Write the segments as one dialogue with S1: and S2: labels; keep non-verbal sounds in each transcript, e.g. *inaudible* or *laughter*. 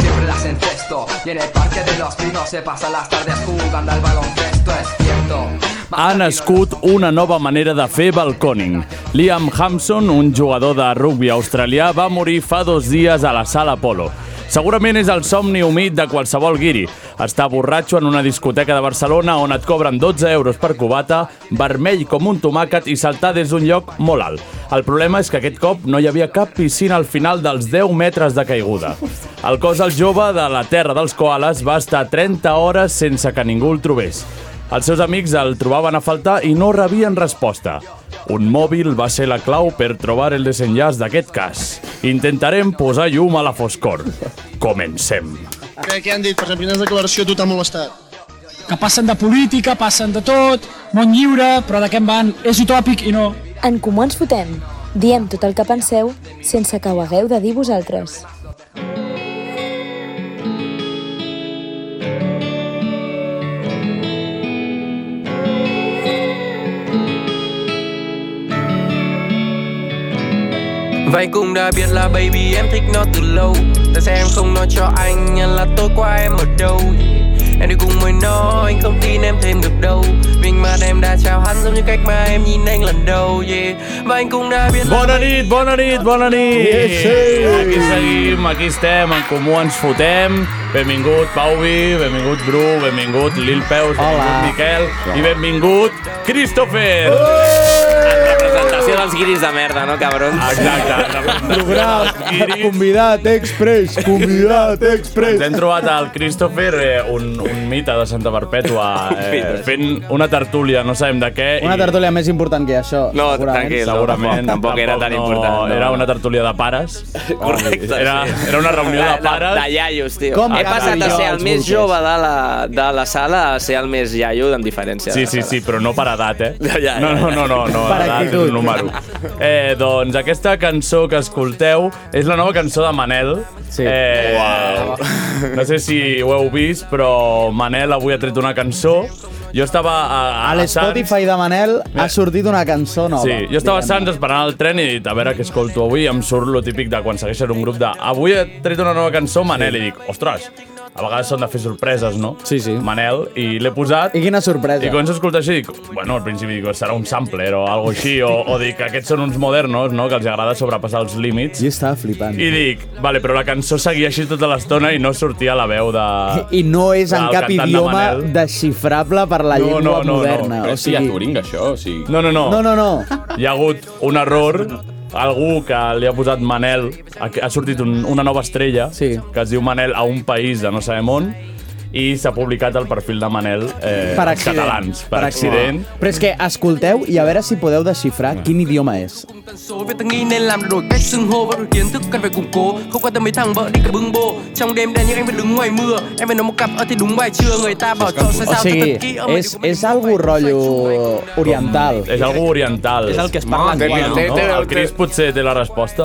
S1: Siempre las encesto Y en el parque de los pinos se pasan las tardes jugando al baloncesto Es cierto
S2: ha nascut una nova manera de fer balconing. Liam Hampson, un jugador de rugby australià, va morir fa dos dies a la sala Polo. Segurament és el somni humit de qualsevol guiri. Estar borratxo en una discoteca de Barcelona on et cobren 12 euros per cubata, vermell com un tomàquet i saltar des d'un lloc molt alt. El problema és que aquest cop no hi havia cap piscina al final dels 10 metres de caiguda. El cos del jove de la terra dels koalas va estar 30 hores sense que ningú el trobés. Els seus amics el trobaven a faltar i no rebien resposta. Un mòbil va ser la clau per trobar el desenllaç d'aquest cas. Intentarem posar llum a la foscor. Comencem.
S3: Què, què han dit? Per exemple, quina declaració a tu t'ha molestat?
S4: que passen de política, passen de tot, món lliure, però de què en van? És utòpic i no.
S5: En Comú Ens Fotem. Diem tot el que penseu sense que ho hagueu de dir vosaltres.
S1: Vậy cũng đã biết là baby em thích nó từ lâu Tại sao em không nói cho anh là tối qua em ở đâu Em đi cùng với nó, anh không tin em thêm được đâu Mình mà em đã chào hắn giống như cách mà em nhìn anh lần đầu yeah. Và anh cũng đã biết
S2: Bona nit, bona nit, bona nit!
S6: Yes, sí.
S2: Aquí seguim, aquí estem, en comú ens fotem. Benvingut Pauvi, benvingut Bru, benvingut Lil Peus, benvingut Miquel i benvingut Christopher!
S7: Presentació dels guiris de merda, no, cabrons?
S2: Ờ, Exacte.
S6: Programa,
S2: Guiris.
S6: convidat express, convidat express.
S2: Ens hem trobat al Christopher, eh, un, un mite de Santa Perpètua, eh, fent una tertúlia, no sabem de què.
S8: Una tertúlia més important que això,
S7: No,
S8: segurament.
S7: tranquil.
S2: Segurament.
S7: Tampoc- tampoc era tan important, no.
S2: Era una tertúlia de pares.
S7: Correcte,
S2: ừ, Era,
S7: sí.
S2: era una reunió de pares.
S7: De iaios, tio.
S8: Com
S7: He
S8: cada
S7: passat a
S8: dijous,
S1: Ah.
S7: ser el més
S8: burgès.
S7: jove de la, de la sala a ser el més iaio, amb diferència. de
S2: Sí,
S7: la
S2: sí,
S7: sala.
S2: sí, però no per edat, eh?
S7: Ja, ja,
S2: no,
S7: ja.
S2: no, no, no, no
S8: Per
S2: edat,
S8: actitud.
S2: és un número. Eh, doncs aquesta cançó que escolteu és la nova cançó de Manel.
S8: Sí.
S2: Eh, wow. No sé si ho heu vist, però Manel avui ha tret una cançó. Jo estava a, a,
S8: A l'Spotify de Manel ha sortit una cançó nova.
S2: Sí, jo estava a
S8: diguem-ne.
S2: Sants esperant el tren i he dit, a veure què escolto avui, em surt lo típic de quan segueixen un grup de avui he tret una nova cançó, Manel, i dic, ostres, a vegades són de fer sorpreses, no?
S8: Sí, sí.
S2: Manel, i l'he posat...
S8: I quina sorpresa.
S2: I quan s'escolta així, dic, bueno, al principi dic, serà un sampler o algo així, o, o dic, aquests són uns modernos, no?, que els agrada sobrepassar els límits.
S8: Jo estava flipant.
S2: I dic, vale, però la cançó seguia així tota l'estona i no sortia la veu de...
S8: I no és en
S2: del
S8: cap
S2: cantant de
S8: idioma
S2: Manel.
S8: desxifrable per la
S2: No,
S8: llengua
S2: no, no, no.
S8: moderna.
S2: Però
S8: o sigui,
S6: això, o sigui...
S2: No, no, no.
S8: no, no, no.
S2: hi ha hagut un error algú que li ha posat Manel ha ha sortit un, una nova estrella
S8: Sí.
S2: que es diu Manel a un país de no sabem on i s'ha publicat el perfil de Manel eh,
S8: Per
S2: als
S8: accident.
S2: catalans per, accident Ah.
S8: Però és que escolteu i a veure si podeu desxifrar quin idioma és.
S1: tần số Về từng nghĩ nên làm đổi cách xưng hô Và đổi kiến thức cần phải củng cố Không quan tâm mấy thằng vợ đi cả bưng bô Trong đêm đen nhưng em vẫn đứng ngoài mưa Em vẫn nói một cặp ở thì đúng bài trưa Người ta bảo cho sao
S8: O
S1: sao cho
S8: sigui,
S1: thật kỹ
S7: Ờ,
S1: Ở mày
S8: és,
S1: đừng có
S8: és
S1: mấy cái xung quanh,
S8: algo
S1: xung quanh.
S8: rotllo oriental.
S2: és algo oriental és el que es
S7: parla aquí, no?
S2: no? el Cris potser té la resposta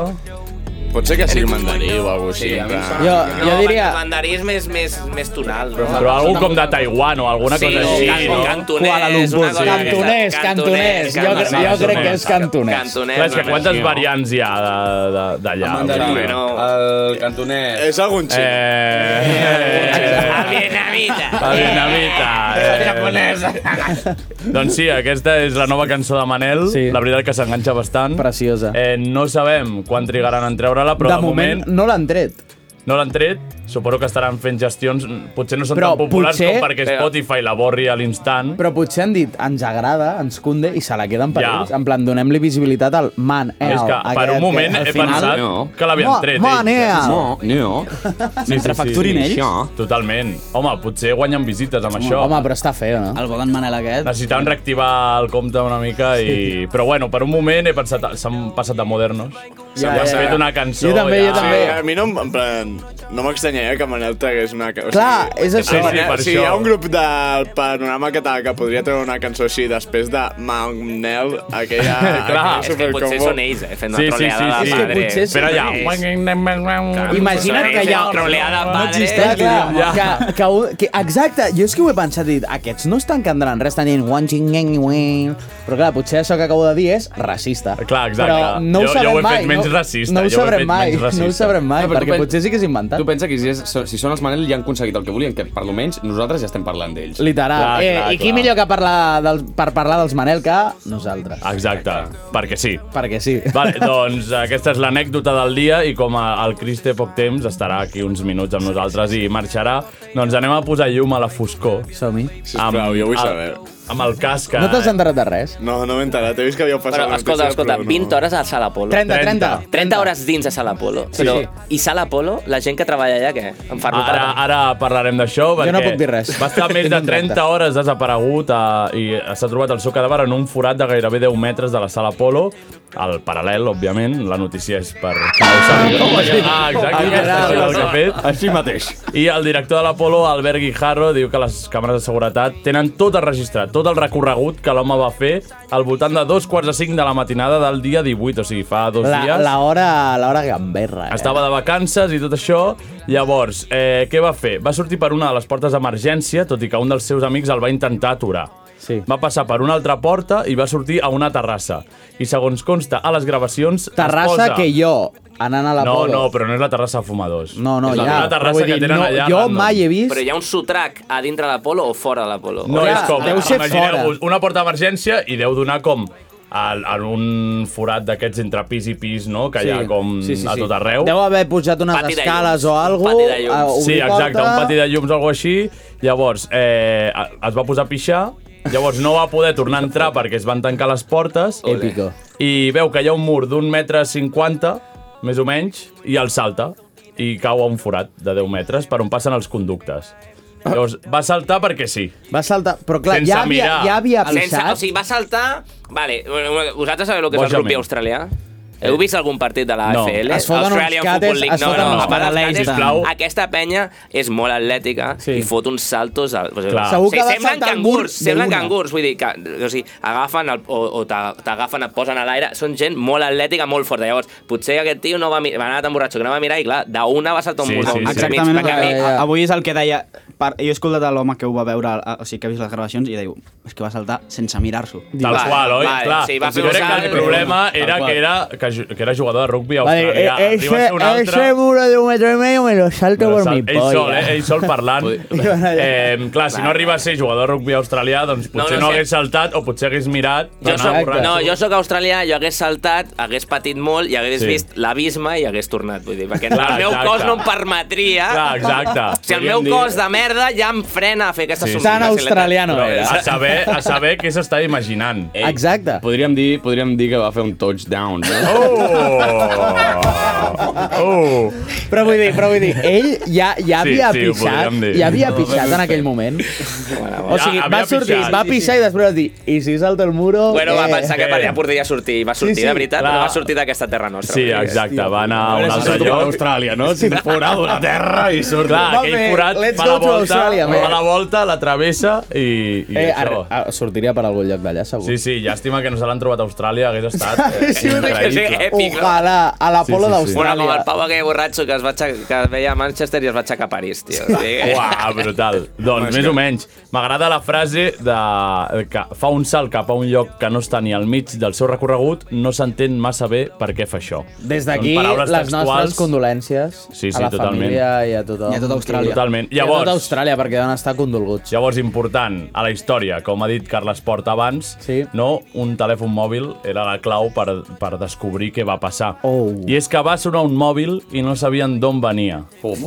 S9: Pot ser que sigui mandarí o alguna cosa així. Sí,
S8: Jo, jo
S7: No,
S8: diria...
S7: el mandarí és més, més, més tonal. no?
S2: però algú com de Taiwan o alguna
S7: Sí,
S2: cosa
S7: o
S2: així
S7: can,
S2: no?
S7: cantonès,
S8: Kuala Lumpur,
S7: una cosa
S8: sí.
S7: d'aquesta.
S8: Cantonès, cantonès, jo cre-
S2: jo crec que és
S8: cantonès.
S7: Cantonès,
S2: Clar, és que
S7: una cosa
S2: quantes
S7: així, no?
S2: variants hi ha de- de- d'allà?
S7: Mandarí. no.
S2: Ờ,
S9: El cantonès. És algun
S2: Eh... *laughs*
S7: El
S2: eh,
S7: vietnamita.
S2: El dinamita. Eh, *laughs* Doncs sí, aquesta és la nova cançó de Manel. Sí.
S8: Sí.
S2: La veritat que s'enganxa bastant.
S8: Preciosa.
S2: Eh, no sabem quan trigaran en treure-la, però
S8: de moment, no l'han tret.
S2: no l'han tret. Suposo que estaran fent gestions... Potser no són
S8: Però
S2: tan populars
S8: potser-
S2: com perquè Spotify la borri a l'instant.
S8: Però potser han dit, ens agrada, ens cunde, i se la queden per
S2: Ja.
S8: ells. En plan, donem-li visibilitat al man el,
S2: És que per
S8: aquest
S2: un moment
S8: que al
S2: he
S8: final-
S2: pensat
S6: No.
S2: que l'havien
S8: Mo-
S2: tret.
S8: Man,
S2: ells.
S8: el.
S6: no.
S2: Sí, sí, sí.
S6: Això.
S2: Totalment. Home, potser guanyen visites amb això.
S8: Home, però està feo, no?
S4: El bo d'en Manel aquest.
S2: Necessitaven reactivar el compte una mica i... Però bueno, per un moment he pensat... S'han passat de modernos.
S9: Ja,
S2: S'ha
S9: ja,
S2: fet
S9: ja.
S2: una cançó.
S9: Jo també,
S2: ja.
S9: jo també. Sí, a mi no, em- en plan, no m'extanyaria que Manel tragués una... ca- O
S8: Clar, és
S9: que
S8: això.
S9: Manel-
S8: Sí, per
S9: si Eh,
S8: això.
S9: hi ha un grup del panorama català que podria treure una cançó així després de Manel, aquella...
S10: *laughs*
S7: Clar.
S9: aquella
S7: És que
S9: supercombo.
S7: potser són ells, eh, fent una Sí, sí, troleada
S9: És que
S7: sí, de sí. madre.
S9: potser són
S7: Espera ja.
S9: ells.
S8: Imagina't que hi ha...
S7: Troleada,
S8: no
S7: padre.
S8: existeix, clar,
S7: Ja.
S8: que, que, un- que, exacte, jo és que ho he pensat, he dit, aquests no estan cantant res, estan dient... "Wan, ching, eng, wen". Però clar, potser això que acabo de dir és racista. Clar,
S2: exacte.
S8: Però no ho
S2: Jo- jo
S8: sabrem
S2: ho he fet
S8: mai.
S2: menys
S8: no,
S2: racista,
S8: No
S2: jo
S8: ho
S2: ho he
S8: sabrem
S2: fet
S8: mai,
S2: menys racista.
S8: no ho sabrem mai,
S2: No,
S8: no,
S2: però tu
S8: perquè
S2: pen-
S8: potser sí que és inventat.
S10: Tu pensa que si, és, si són els Manel ja han aconseguit el que volien, que per lo menys nosaltres ja estem parlant d'ells.
S8: Literal. Clar, eh, I qui millor que parlar del, per parlar dels Manel que nosaltres?
S2: Exacte, perquè sí.
S8: Perquè sí.
S2: Vale, *laughs* doncs aquesta és l'anècdota del dia i com a- el Cris té poc temps, estarà aquí uns minuts amb nosaltres i marxarà, doncs anem a posar llum a la foscor.
S8: Som-hi.
S9: Sisplau, jo vull saber.
S2: Amb el casc.
S8: No t'has enterat de res?
S9: No, no m'he enterat, he vist que havíeu passat
S7: Però, escolta, escolta, 20 hores a Sala Polo.
S8: 30, 30.
S7: 30 hores dins a Sala Polo.
S2: Sí,
S7: Però,
S2: sí.
S7: I Sala Polo, la gent que treballa allà, què? Em fa
S2: Ara,
S7: notar.
S2: ara parlarem d'això.
S7: Jo no
S2: perquè
S7: puc dir res.
S2: Va estar més
S7: No
S2: de
S7: em
S2: 30
S7: tracta.
S2: hores desaparegut a, i s'ha trobat el seu cadàver en un forat de gairebé 10 metres de la sala Polo. Al paral·lel, òbviament, la notícia és per causa...
S7: *laughs*
S2: Ah, exacte, aquesta és el que ha fet.
S10: Així mateix.
S2: I el director de l'Apolo, Albert Guijarro, diu que les càmeres de seguretat tenen tot el registrat, tot el recorregut que l'home va fer al voltant de dos quarts de cinc de la matinada del dia 18, o sigui, fa dos
S8: La,
S2: dies.
S8: la hora, la hora gamberra. Eh?
S2: Estava de vacances i tot això. Llavors, eh, què va fer? Va sortir per una de les portes d'emergència, tot i que un dels seus amics el va intentar aturar.
S8: Sí.
S2: Va passar per una altra porta i va sortir a una terrassa. I segons consta a les gravacions... es
S8: Terrassa
S2: posa-
S8: que jo, anant a la
S2: No,
S8: Polo...
S2: no, però no és la terrassa de fumadors.
S8: No, no,
S2: és la,
S8: ja,
S2: La
S8: però
S2: terrassa
S8: vull
S2: que
S8: dir,
S2: tenen
S8: no,
S2: allà.
S8: jo
S2: random.
S8: mai he vist-
S7: Però hi ha un sotrac a dintre de l'Apolo o fora de l'Apolo?
S2: No, és com,
S7: Deu ser
S2: imagineu-vos, una porta d'emergència i deu donar com al, en un forat d'aquests entre pis i pis, no? Que hi ha com a tot arreu.
S8: Deu haver pujat unes
S2: Pati de
S8: escales
S2: llums.
S8: o alguna
S2: Pati de llums. Sí, exacte, un pati de llums o alguna així. Llavors, eh, es va posar a pixar, llavors no va poder tornar a entrar perquè es van tancar les portes.
S8: Épico.
S2: I veu que hi ha un mur d'un metre cinquanta, més o menys, i el salta i cau a un forat de 10 metres per on passen els conductes. Llavors, va saltar perquè sí.
S8: Va saltar, però clar,
S2: Sense
S8: ja havia,
S2: mirar.
S8: ja havia
S7: Sense,
S8: pixat.
S7: o sigui, va saltar... Vale, bueno, vosaltres sabeu el que és el
S2: Bojament.
S7: rugby australià? Heu vist algun partit de la
S2: No.
S7: AFL?
S2: Es foten uns
S7: Australian
S2: cates,
S7: Football League.
S2: es foten uns
S7: a part dels
S2: paral·lels,
S7: cates,
S2: sisplau.
S7: Aquesta penya és molt atlètica i fot uns saltos... Al... O sigui,
S2: Clar. Segur que va
S7: semblen
S2: saltar el mur
S7: cangurs, semblen
S2: d'una.
S7: cangurs. Vull dir, que, o sigui, agafen el, o, o t'a- t'agafen, et posen a l'aire. Són gent molt atlètica, molt forta. Llavors, potser aquest tio no va, mi- va anar tan borratxo que no va mirar i, clar, d'una va saltar un mur. d'un metre i mig,
S11: Exactament el
S7: perquè a
S11: que,
S7: mi-
S11: a- avui és el que deia... Per, jo he escoltat a l'home que ho va veure, a- o sigui, que ha vist les gravacions, i diu, és que va saltar sense mirar-s'ho.
S2: Tal qual, oi? Clar, jo crec que el problema era que era, que, ju- que era jugador de rugbi
S8: Vale,
S2: australià.
S8: e-
S2: Arriba a ser un
S8: ese,
S2: altre...
S8: ese muro de un metro y medio me lo salto
S2: Però
S8: por
S2: sal-
S8: mi
S2: ell
S8: polla.
S2: sol, eh? Ell sol parlant. eh, clar, si no arriba a ser jugador de rugby australià, doncs potser no,
S7: no sé.
S2: hagués saltat o potser hagués mirat.
S7: Jo
S2: anar
S7: soc,
S2: borratxo.
S7: no, jo sóc australià, jo hagués saltat, hagués patit molt i hagués
S2: Sí.
S7: sí. vist l'abisme i hagués tornat. Vull dir, perquè
S2: *laughs* Clar,
S7: el meu
S2: exacte.
S7: cos no em permetria...
S2: Clar, exacte.
S7: Si el
S2: Podríem
S7: meu
S2: dir-
S7: cos de merda ja em frena a fer aquesta sí.
S2: Però A saber, a saber què s'està imaginant.
S7: Eh.
S8: Exacte.
S10: Podríem dir, podríem dir que va fer un touchdown. No?
S2: Oh!
S8: Però vull dir, però vull dir, ell ja, ja
S10: Sí,
S8: havia
S10: sí, ho
S8: pixat,
S10: podríem dir.
S8: ja havia
S10: No,
S8: pixat
S10: no
S8: en aquell moment.
S7: bueno.
S8: O sigui,
S7: Ja
S8: va
S7: havia
S8: sortir,
S7: pixat.
S8: va pixar i després va dir, i si salta el muro...
S7: Bueno, va
S8: eh?"
S7: pensar que per allà podria sortir. Va sortir, sí,
S8: Sí, sí.
S7: sí, de veritat,
S8: Clar.
S7: però va sortir d'aquesta terra nostra.
S2: Sí,
S7: Vull dir,
S2: exacte, va anar a
S7: A
S2: un
S7: veure si
S2: altre
S7: surto
S2: lloc.
S7: per
S10: Austràlia, no? Si fora d'una terra i surt.
S2: Clar,
S8: Va
S2: aquell
S8: bé,
S2: forat
S8: let's
S2: fa
S8: go
S2: la
S8: to
S2: volta,
S8: Austràlia,
S2: fa
S8: man.
S2: la volta, la travessa i, i
S8: Eh,
S2: això.
S8: ar- a- sortiria per algun lloc d'allà, segur.
S2: Sí, sí, llàstima que no se l'han trobat a Austràlia, hagués estat
S8: *laughs*
S2: eh,
S8: Sí, ho dic.
S2: increïble.
S7: Èpic, no?
S8: Ojalà, a la polo
S7: Bueno, com el
S8: d'Austràlia.
S7: Pau aquell borratxo que, es va aixec- que veia a Manchester i es va aixecar a París, tio. eh,
S2: Uà, brutal. Doncs més o menys. M'agrada la frase de que fa un salt cap a un lloc que no està ni al mig del seu recorregut, no s'entén massa bé per què fa això.
S8: Des d'aquí,
S2: Són
S8: les
S2: paraules
S8: nostres
S2: textuals.
S8: condolències
S2: Sí, sí,
S8: a la
S2: totalment.
S8: família i a tothom.
S2: I a tota Austràlia. Totalment.
S8: I a
S2: Llavors-
S8: tota Austràlia, perquè van estar condolguts.
S2: Llavors, important, a la història, com ha dit Carles Porta abans, sí. no un telèfon mòbil era la clau per, per descobrir què va passar. Oh. I és que va sonar un mòbil i no sabien d'on venia. Uf.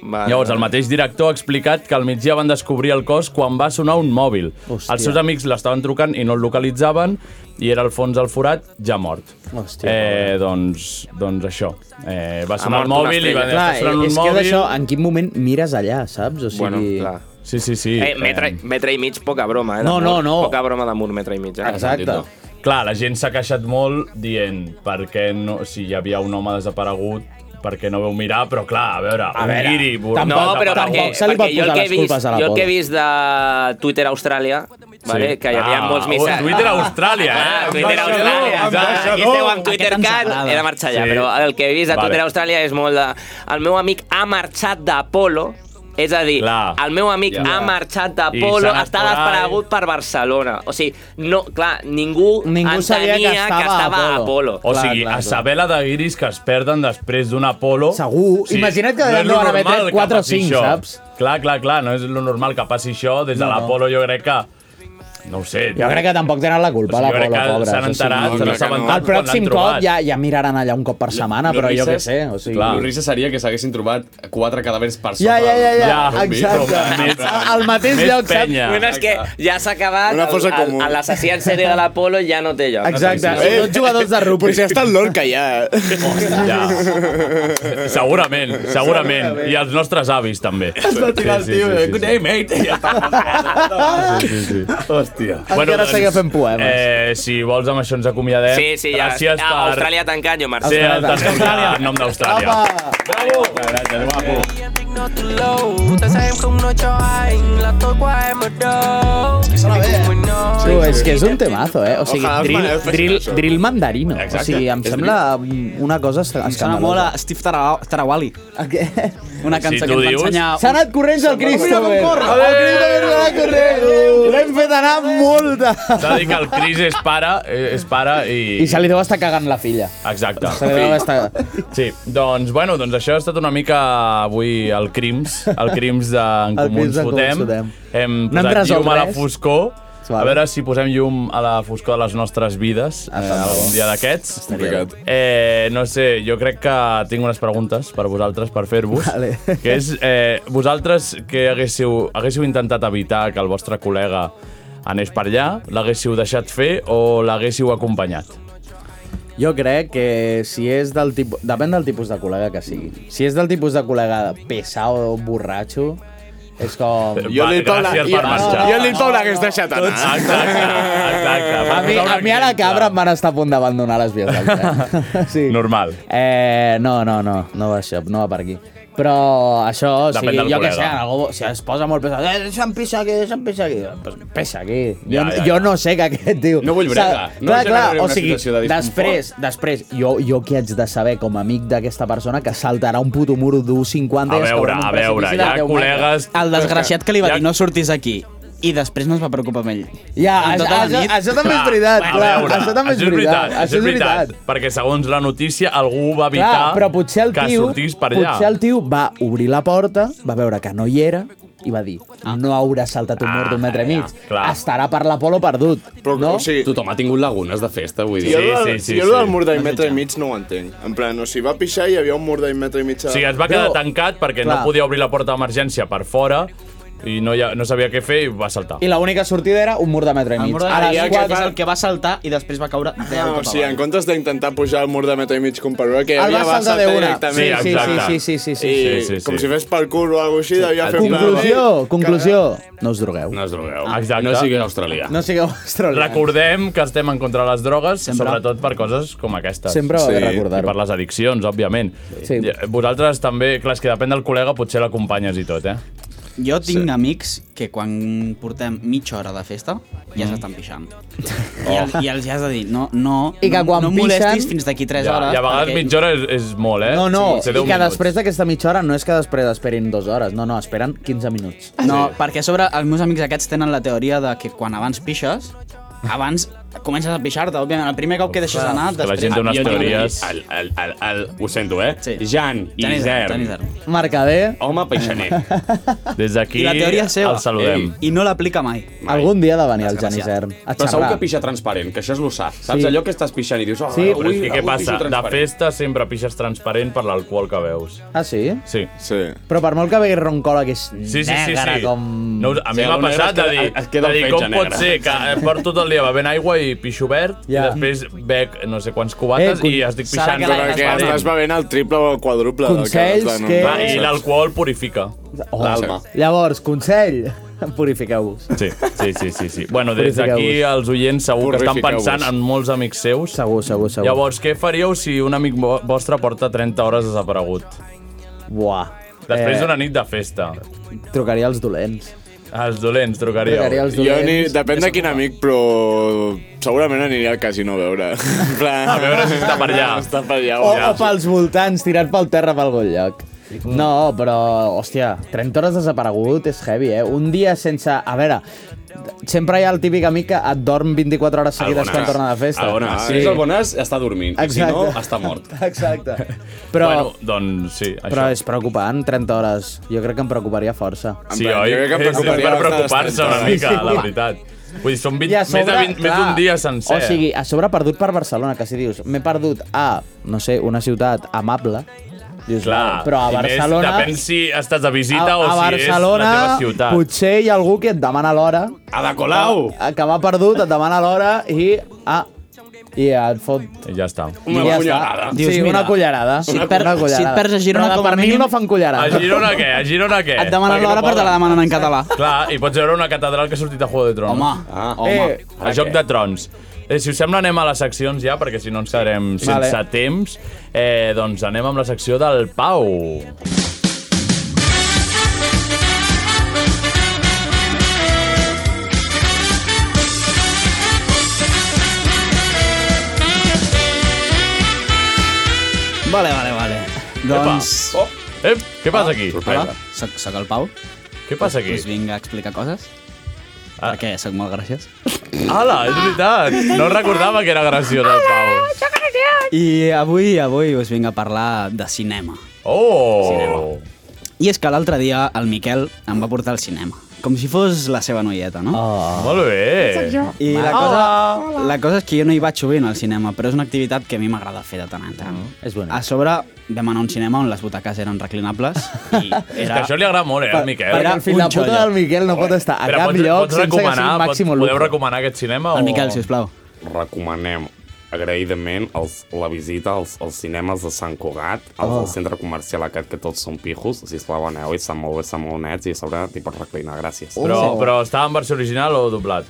S2: Llavors, el mateix director ha explicat que al migdia van descobrir el cos quan va sonar un mòbil. Hòstia. Els seus amics l'estaven trucant i no el localitzaven i era al fons del forat, ja mort.
S8: Hòstia,
S2: eh, doncs, doncs això. Eh, va sonar el
S7: mort una
S2: mòbil i va
S7: estrella.
S2: dir,
S8: Clar,
S2: "Està sonant un
S8: és que és
S2: mòbil...
S8: això, en quin moment mires allà, saps? O sigui...
S7: Bueno, clar.
S2: Sí, Eh, sí, sí.
S7: Eh, metre, metre i mig, poca broma, eh?
S8: No,
S7: d'amor.
S8: no, no.
S7: Poca broma d'amor, metre i mig. Eh?
S8: Exacte.
S2: Clar, la gent s'ha queixat molt dient per què no, si hi havia un home desaparegut, per què no veu mirar, però clar, a veure,
S8: A
S2: un
S8: veure,
S2: guiri...
S7: no, però perquè, perquè jo el que he vist, jo el que he
S2: vist...
S7: vist de Twitter Austràlia, Vale, que hi havia
S2: Ah,
S7: molts
S2: oh,
S7: missatges.
S2: Twitter Austràlia, eh?
S7: Ah, Twitter
S2: Ambaixador,
S7: Austràlia.
S2: ambaixador.
S7: Aquí esteu amb Twitter
S2: Aquest ens
S7: Cat,
S2: agrada.
S7: he de marxar allà,
S2: Sí.
S7: però el que he vist a
S2: Vale.
S7: Twitter Austràlia és molt de... El meu amic ha marxat d'Apolo, és a dir, clar. el meu amic
S2: Ja.
S7: ha marxat
S2: I
S7: d'Apolo,
S2: s'ha anat
S7: està
S2: por ahí.
S7: desaparegut per Barcelona. O sigui, no, clar, ningú,
S2: Ningú
S7: entenia
S2: sabia que estava
S7: que estava a Apolo.
S2: O sigui, a saber la de guiris que es perden després d'un Apolo... Segur.
S8: Imagina't que no van haver tret quatre o cinc, saps?
S2: Clar, clar, clar, no és lo normal que passi això. Des de
S8: No, no.
S2: l'Apolo jo crec que... No ho sé.
S8: Jo crec que tampoc tenen la culpa,
S2: O sigui,
S8: la
S2: jo crec
S8: Paula,
S2: que
S8: pobres.
S2: s'han
S8: o sigui,
S2: enterat, se n'han assabentat
S8: El
S2: quan l'han
S8: pròxim cop
S2: trobat.
S8: ja, ja miraran allà un cop per setmana, però jo què sé. O sigui...
S10: Clar. L'Urrissa seria que s'haguessin trobat quatre cadàvers per sota.
S8: Ja, ja, ja, ja,
S10: del zombi.
S8: exacte. Al mateix lloc, saps?
S7: Bueno, és que ja s'ha acabat,
S10: Una fosa
S7: el- el-
S10: comú.
S7: el- l'assassí en sèrie de l'Apolo ja no té lloc.
S8: Exacte,
S7: Sí, sí, sí.
S8: tots jugadors de rugby.
S9: Però si està el Lorca ja.
S2: Ja. Segurament, segurament. I els nostres avis, també.
S9: Es va tirar el tio,
S8: eh?
S9: "Good
S2: day, mate. Ja està. Sí, sí, sí. Hòstia.
S8: Encara seguia fent poemes.
S2: Eh, si vols, amb això ens acomiadem.
S7: Sí, sí, ja.
S2: Gràcies
S7: Ah,
S2: per...
S7: Austràlia tancat, jo marxo.
S2: Sí,
S7: Austràlia
S2: el
S7: tancat.
S2: Austràlia. En nom d'Austràlia.
S1: Bravo.
S2: Gràcies, guapo.
S1: Tại sao em không nói cho anh là tối qua em ở đâu
S8: Tu, és que és un temazo, eh? O sigui,
S11: Ojalà els
S8: drill,
S11: Manel fessin
S8: drill,
S11: això.
S8: drill mandarino.
S11: Exacte.
S8: O sigui, em
S11: És
S8: sembla una cosa esca-
S11: Em sona
S8: escandalosa.
S11: molt a Steve Tara- Tarawali. Una cançó que ens va ensenyar...
S8: S'ha anat corrents eh? el Christopher.
S11: corre.
S8: El Christopher s'ha anat corrents. L'hem fet anar molt de...
S2: S'ha de dir que el Cris és pare, eh, és pare i...
S8: I se li deu estar cagant la filla.
S2: Exacte.
S8: Se li deu estar...
S2: Sí, doncs, bueno, doncs això ha estat una mica avui el Crims, el Crims d'en
S8: El
S2: Comú
S8: Crims
S2: ens
S8: d'en Comú ens
S2: fotem.
S8: fotem.
S2: Hem
S8: No hem
S2: posat
S8: resolt
S2: llum a la
S8: res.
S2: foscor. A veure si posem llum a la foscor de les nostres vides
S8: Ah,
S2: eh, algun dia d'aquests.
S10: Complicat.
S2: Eh, no sé, jo crec que tinc unes preguntes per vosaltres, per fer-vos.
S8: Vale.
S2: Que és, eh, vosaltres que haguéssiu, haguéssiu intentat evitar que el vostre col·lega anés per allà, l'haguéssiu deixat fer o l'haguéssiu acompanyat?
S8: Jo crec que si és del tipus... Depèn del tipus de col·lega que sigui. Si és del tipus de col·lega pesado o borratxo, és com...
S2: Eh,
S9: Jo li Paula,
S2: gràcies
S9: jo,
S2: per marxar.
S9: jo li Paula hagués deixat anar.
S2: Exacte, exacte.
S8: A mi, a mi ara cabra em van estar a punt d'abandonar les vies del tren. sí.
S2: Normal.
S8: Eh, no, no, no, no va, això, no va per aquí. Però això, o
S2: Depèn
S8: sigui,
S2: del
S8: jo què
S2: col·lega.
S8: sé, algú, si es posa molt pesat, eh, deixa'm pixar aquí, deixa'm pixar aquí, pues peixa aquí. Jo,
S10: Ja,
S8: ja,
S10: ja,
S8: ja, jo no sé que aquest tio... No
S10: vull bregar, no
S8: clar, clar,
S10: generaré una
S8: o sigui,
S10: situació de disconfort.
S8: després, després, jo, jo què haig de saber com a amic d'aquesta persona que saltarà un puto muro d'1,50 i
S2: A
S8: es caurà
S2: veure,
S8: en un
S2: a veure,
S8: precipici
S2: hi ha
S8: de 10
S2: col·legues...
S11: El desgraciat que li va dir no sortis aquí i després no es va preocupar amb ell.
S8: Ja,
S11: En
S8: això,
S11: tota la
S8: això,
S11: nit.
S8: això també és veritat,
S2: Ah, a
S8: clar,
S2: veure,
S8: això també és veritat,
S2: Això és veritat, perquè segons la notícia algú va evitar
S8: Clar, però potser el
S2: que
S8: tio,
S2: sortís per allà.
S8: Potser el tio va obrir la porta, va veure que no hi era, i va dir,
S11: Ah.
S8: no haurà saltat un mur
S2: Ah,
S8: d'un metre i mig.
S10: clar.
S8: Estarà per l'Apolo perdut.
S9: Però,
S8: no?
S9: o sigui,
S10: Tothom ha tingut lagunes de festa, vull dir.
S9: Jo, sí, sí, sí, jo sí. del mur d'un metre i mig no ho entenc. En plan, o sigui, va pixar i hi havia un mur d'un metre i mig...
S2: O sigui, es va quedar tancat perquè
S9: clar.
S2: no podia obrir la porta d'emergència per fora i no, hi ha, no sabia què fer i va saltar.
S8: I l'única sortida era un mur de metre i mig.
S11: Ara,
S8: Ara,
S11: ja,
S8: quatre-
S11: que és el que va saltar i després va caure deu
S9: No, o
S11: cap
S9: sigui, en
S11: avall.
S9: comptes d'intentar pujar al mur de metre i mig com per veure que hi
S11: El
S9: havia, eh,
S11: va saltar de una.
S9: directament.
S11: Sí, sí, sí, sí,
S8: sí, sí,
S9: I
S8: sí, sí, sí.
S9: com si fes parkour o alguna cosa així, devia fer un
S8: Conclusió, conclusió. No us drogueu.
S10: No us drogueu.
S2: Exacte.
S10: No sigueu australià.
S8: No sigueu *laughs* australians.
S2: Recordem que estem en contra de les drogues, Sempre. sobretot per coses com aquestes.
S8: Sempre va bé Sí. recordar-ho.
S2: I per les addiccions, òbviament. Sí. Vosaltres també, clar, és que depèn del col·lega, potser l'acompanyes i tot, eh?
S11: Jo tinc sí. amics que quan portem mitja hora de festa
S8: Mm.
S11: ja s'estan pixant.
S8: *laughs*
S11: I, el, I els ja has de dir, no, no,
S8: Oh. I que
S11: no-
S8: quan
S11: no em molestis
S8: pixen-
S11: fins d'aquí 3
S2: ja,
S11: hores.
S2: I a vegades mitja hora és, és molt, eh?
S8: No, no,
S2: Sí,
S8: i que després d'aquesta mitja hora no és que després esperin dues hores, no, no, esperen 15 minuts.
S11: No, perquè a sobre els meus amics aquests tenen la teoria de que quan abans pixes, abans comences a pixar-te, òbviament. El primer cop que deixes anar,
S10: que la
S11: després...
S10: gent té unes teories... El, el, el, el, ho sento, eh? Sí. Jan
S11: Jan
S10: i
S11: Isern, Jan
S10: Zer.
S11: Isern.
S8: Mercader.
S10: Home peixaner.
S2: Des
S11: *laughs*
S2: d'aquí
S11: I la teoria és seva.
S10: el saludem.
S11: Ei, I no l'aplica mai.
S8: Algun dia ha de venir el Jan
S10: Desgraciat.
S8: Isern a
S10: Però segur
S8: xerrar.
S10: que pixa transparent, que això és l'ossar. Saps
S8: Sí.
S10: allò que estàs pixant i dius... Oh,
S2: Sí,
S10: avui-
S2: però és que què
S10: avui
S2: passa?
S10: pixo
S2: De
S10: transparent."
S2: festa sempre pixes transparent per l'alcohol que veus.
S8: Ah, sí?
S2: Sí.
S9: Sí.
S8: Però per molt que vegi roncola, que és
S2: Sí, sí, sí,
S8: negra
S2: sí.
S8: com...
S2: No, a mi
S8: Sí,
S2: m'ha
S8: el negre
S2: passat
S8: es
S2: de
S8: queda-
S2: dir,
S8: es queda un
S2: de dir
S8: fetge
S2: com pot
S8: negre.
S2: ser que eh, porto tot el dia bevent aigua i pixo verd, yeah. i després bec no sé quants cubates eh, i estic pixant.
S9: Però que estàs bevent el triple o el quadruple. del
S8: Consells
S9: estàs
S8: que-
S10: Ah,
S2: Va, I l'alcohol purifica.
S8: Oh, Llavors, consell, *laughs* purifiqueu-vos.
S2: Sí, sí, sí, sí, sí. Bueno, des d'aquí
S8: Purifiqueu-vos.
S2: els oients segur que estan
S8: Purifiqueu-vos.
S2: pensant en molts amics seus.
S8: Segur, segur, segur.
S2: Llavors, què faríeu si un amic vo- vostre porta 30 hores desaparegut?
S8: Buah.
S2: Després
S8: Eh.
S2: d'una nit de festa.
S8: Trucaria als dolents.
S2: Els dolents trucaríeu.
S9: Jo ni, depèn de quin amic, però segurament aniria al casino a veure. En plan,
S2: A veure si *laughs* està per allà.
S9: Està per allà.
S8: O,
S9: ja.
S8: o pels voltants, tirant pel terra per algun lloc. No, però, hòstia, 30 hores desaparegut és heavy, eh? Un dia sense... A veure, sempre hi ha el típic amic que et dorm 24 hores seguides quan torna de festa. Ah,
S10: El Bonas. Si és el Bonas, està dormint.
S8: Exacte.
S10: Si no, està mort.
S8: Exacte. Però,
S2: Bueno, doncs sí, això.
S8: però és preocupant, 30 hores. Jo crec que em preocuparia força.
S2: Sí, oi? *laughs* És per preocupar-se una mica, la veritat. Vull dir, són 20, més, de 20, més d'un dia sencer.
S8: O sigui, a sobre perdut per Barcelona, que si dius, m'he perdut a, no sé, una ciutat amable, dius,
S2: Clar,
S8: però a
S2: i més,
S8: Barcelona...
S2: depèn si estàs de visita
S8: a,
S2: o
S8: a
S2: si
S8: Barcelona,
S2: és la teva ciutat.
S8: potser hi ha algú que et demana l'hora. eh,
S2: A la Colau!
S8: Que, que va perdut, et demana l'hora i... Ah, i et fot...
S2: I ja està.
S8: Una Ja està. cullerada. Dius, Sí, una mira, cullerada. si et per-
S2: Una cullerada.
S8: si et perds a Girona, Però de com a per mínim mínim- no fan cullerada.
S2: A Girona què? A Girona què?
S8: Et demanen l'hora, però te la
S2: demanen en català. Clar, i pots veure una catedral que ha sortit a Juego de Tronos. Home, ah,
S8: home. Eh,
S2: a Joc de Trons. Eh, si us sembla, anem a les seccions ja, perquè si no ens quedarem
S8: Sí.
S2: sense
S8: Vale.
S2: temps. Eh, doncs anem amb la secció del Pau.
S8: Oh.
S11: Vale, vale, vale. Doncs...
S2: Epa. Oh. Ep, què passa
S8: Ah,
S2: aquí? Ah,
S11: Hola, soc, soc el Pau.
S2: Què passa aquí?
S11: Doncs vinc a explicar coses. Ah. Perquè soc molt graciós.
S2: Hala, és veritat. No recordava que era graciós el Pau.
S11: I avui, avui us vinc a parlar de cinema.
S2: Oh!
S11: Cinema. I és que l'altre dia el Miquel em va portar al cinema. Com si fos la seva noieta, no?
S2: Oh. Molt bé. Soc jo.
S11: I la
S2: Hola.
S11: cosa, la cosa és que jo no hi vaig sovint al cinema, però és una activitat que a mi m'agrada fer de tant en tant.
S10: Oh.
S11: Mm.
S8: És bona.
S11: A sobre vam anar a un cinema on les butaques eren reclinables
S10: *laughs*
S11: i
S2: És
S11: era...
S2: que això li agrada molt, eh, al Miquel.
S8: Perquè al final, la puta del Miquel no pot estar a
S2: Però
S8: cap
S2: pots,
S8: lloc
S2: pots
S8: sense que
S2: recomanar,
S8: sigui màxim
S2: pots,
S8: lucre.
S2: podeu recomanar aquest cinema?
S11: El
S2: o...
S11: Miquel, sisplau.
S10: Recomanem agraïdament els, la visita als, als cinemes de Sant Cugat, als
S2: Oh.
S10: oh. del centre comercial aquest que tots són pijos, sisplau aneu, i estan molt bé, estan molt nets i a sobre t'hi pots reclinar, gràcies.
S11: Oh.
S2: Però, però estava en versió original o doblat?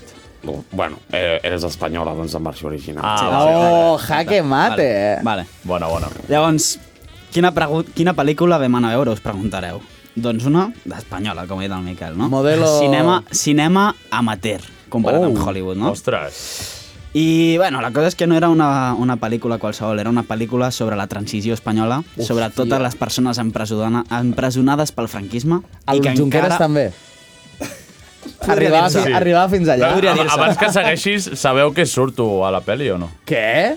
S10: Bueno, eh, eres espanyola, doncs en versió original.
S2: Ah,
S8: Oh, jaque mate. eh.
S11: Vale.
S2: Bona, bona.
S11: Llavors, quina, pregu- quina pel·lícula vam anar a veure, us preguntareu? Doncs una d'espanyola, com ha dit el Miquel, no?
S8: Modelo-
S11: Cinema, cinema amateur, comparat
S8: Oh.
S11: amb Hollywood, no?
S2: Ostres!
S11: I, bueno, la cosa és que no era una, una pel·lícula qualsevol, era una pel·lícula sobre la transició espanyola, Hòstia. sobre totes les persones empresona- empresonades pel franquisme.
S8: El Junqueras també. Arribava,
S11: dir-se.
S8: fi, arribava fins allà.
S2: Podria dir Abans que segueixis, sabeu que surto a la peli o no?
S8: Què?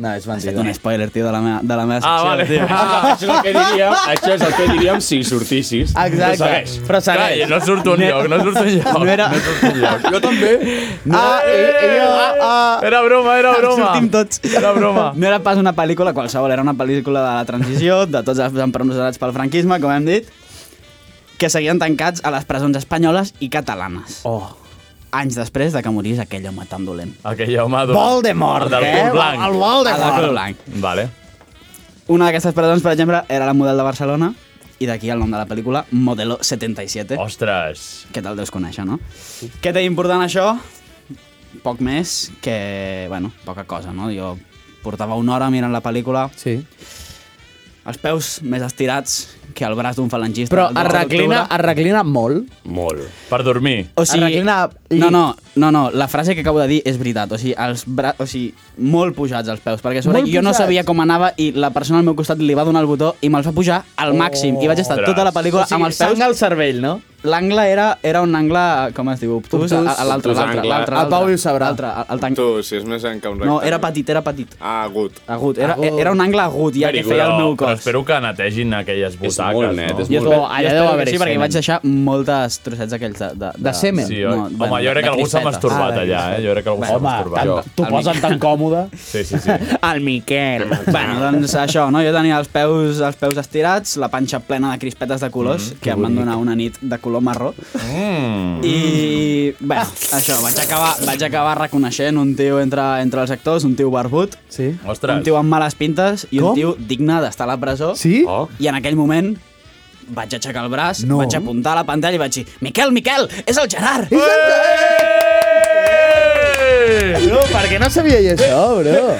S8: No, és mentida.
S11: Un spoiler, tio, de la meva, de la meva
S2: Ah,
S11: secció.
S2: vale.
S11: tio.
S10: *laughs*
S11: *laughs*
S2: Ah,
S10: això és el que
S2: *laughs*
S10: diria. Això és el que diríem si sortissis. Però
S8: Exacte.
S10: segueix.
S8: Però segueix.
S10: Clar, no surto enlloc, no surto enlloc.
S11: No era...
S10: Jo també.
S11: No. Ah,
S2: eh, ah, ah. Era broma, era broma.
S11: Sortim tots.
S2: Era broma.
S11: No era pas una pel·lícula qualsevol, era una pel·lícula de la transició, de tots els empresonats pel franquisme, com hem dit, que seguien tancats a les presons espanyoles i catalanes.
S8: Oh.
S11: Anys després de que morís aquell home tan dolent.
S2: Aquell home... dolent.
S11: Voldemort,
S2: El del
S11: eh?
S2: cul blanc.
S11: El Voldemort. El del cul blanc.
S2: Vale.
S11: Una d'aquestes presons, per exemple, era la Model de Barcelona, i d'aquí el nom de la pel·lícula, Modelo 77.
S2: Ostres!
S11: Què tal deus conèixer, no? Què té important això? Poc més que, bueno, poca cosa, no? Jo portava una hora mirant la pel·lícula.
S8: Sí.
S11: Els peus més estirats que el braç d'un falangista.
S8: Però
S11: del
S8: es
S11: 12
S8: reclina,
S11: d'octubre.
S8: es reclina molt.
S2: Molt. Per dormir.
S11: O sigui,
S8: reclina-
S11: no, no, no, no, la frase que acabo de dir és veritat. O sigui, els bra... o sigui molt pujats els peus, perquè a sobre
S8: Molt
S11: jo no
S8: pujats.
S11: sabia com anava i la persona al meu costat li va donar el botó i me'ls va pujar al màxim. I vaig estar tota la pel·lícula
S8: O sigui,
S11: amb els peus...
S8: sang al cervell, no?
S11: L'angle era, era un angle, com es diu, obtús?
S8: Obtús.
S11: A- a L'altre,
S9: Obtús
S11: l'altre,
S9: angle.
S11: l'altre.
S9: El Pau
S11: ho sabrà. L'altre, el tanc...
S9: Tu, si és més enca un
S11: No,
S9: rectangle.
S11: era petit, era petit.
S9: Ah, agut.
S11: Agut. Era, era un angle agut, ja que feia el meu
S2: Però
S11: cos.
S2: espero que netegin aquelles butaques. És molt net,
S11: Jo espero- jo espero que Sí, perquè vaig deixar moltes trossets aquells de... De,
S2: De semen? Sí, oi? Home, jo crec que algú s'ha
S11: Ah,
S2: masturbat allà, eh? Jo crec que algú s'ha Home, masturbat. tant- t'ho posen
S8: tan còmode.
S2: Sí, sí, sí.
S11: El Miquel. bueno, doncs això, no? Jo tenia els peus, els peus estirats, la panxa plena de crispetes de colors, mm, que, em van donar una nit de color marró. Mm. I I, bé, això, vaig acabar, vaig acabar reconeixent un tio entre, entre els actors, un tio barbut, sí.
S2: Ostres.
S11: un tio amb males pintes i
S12: Com?
S11: un tio digne d'estar a la presó.
S12: Sí?
S11: Oh. I en aquell moment vaig aixecar el braç,
S12: No.
S11: no. vaig apuntar a la pantalla i vaig dir Miquel, Miquel, és el Gerard!
S9: Eh?
S12: És el
S8: No, per què no sabia jo això, bro?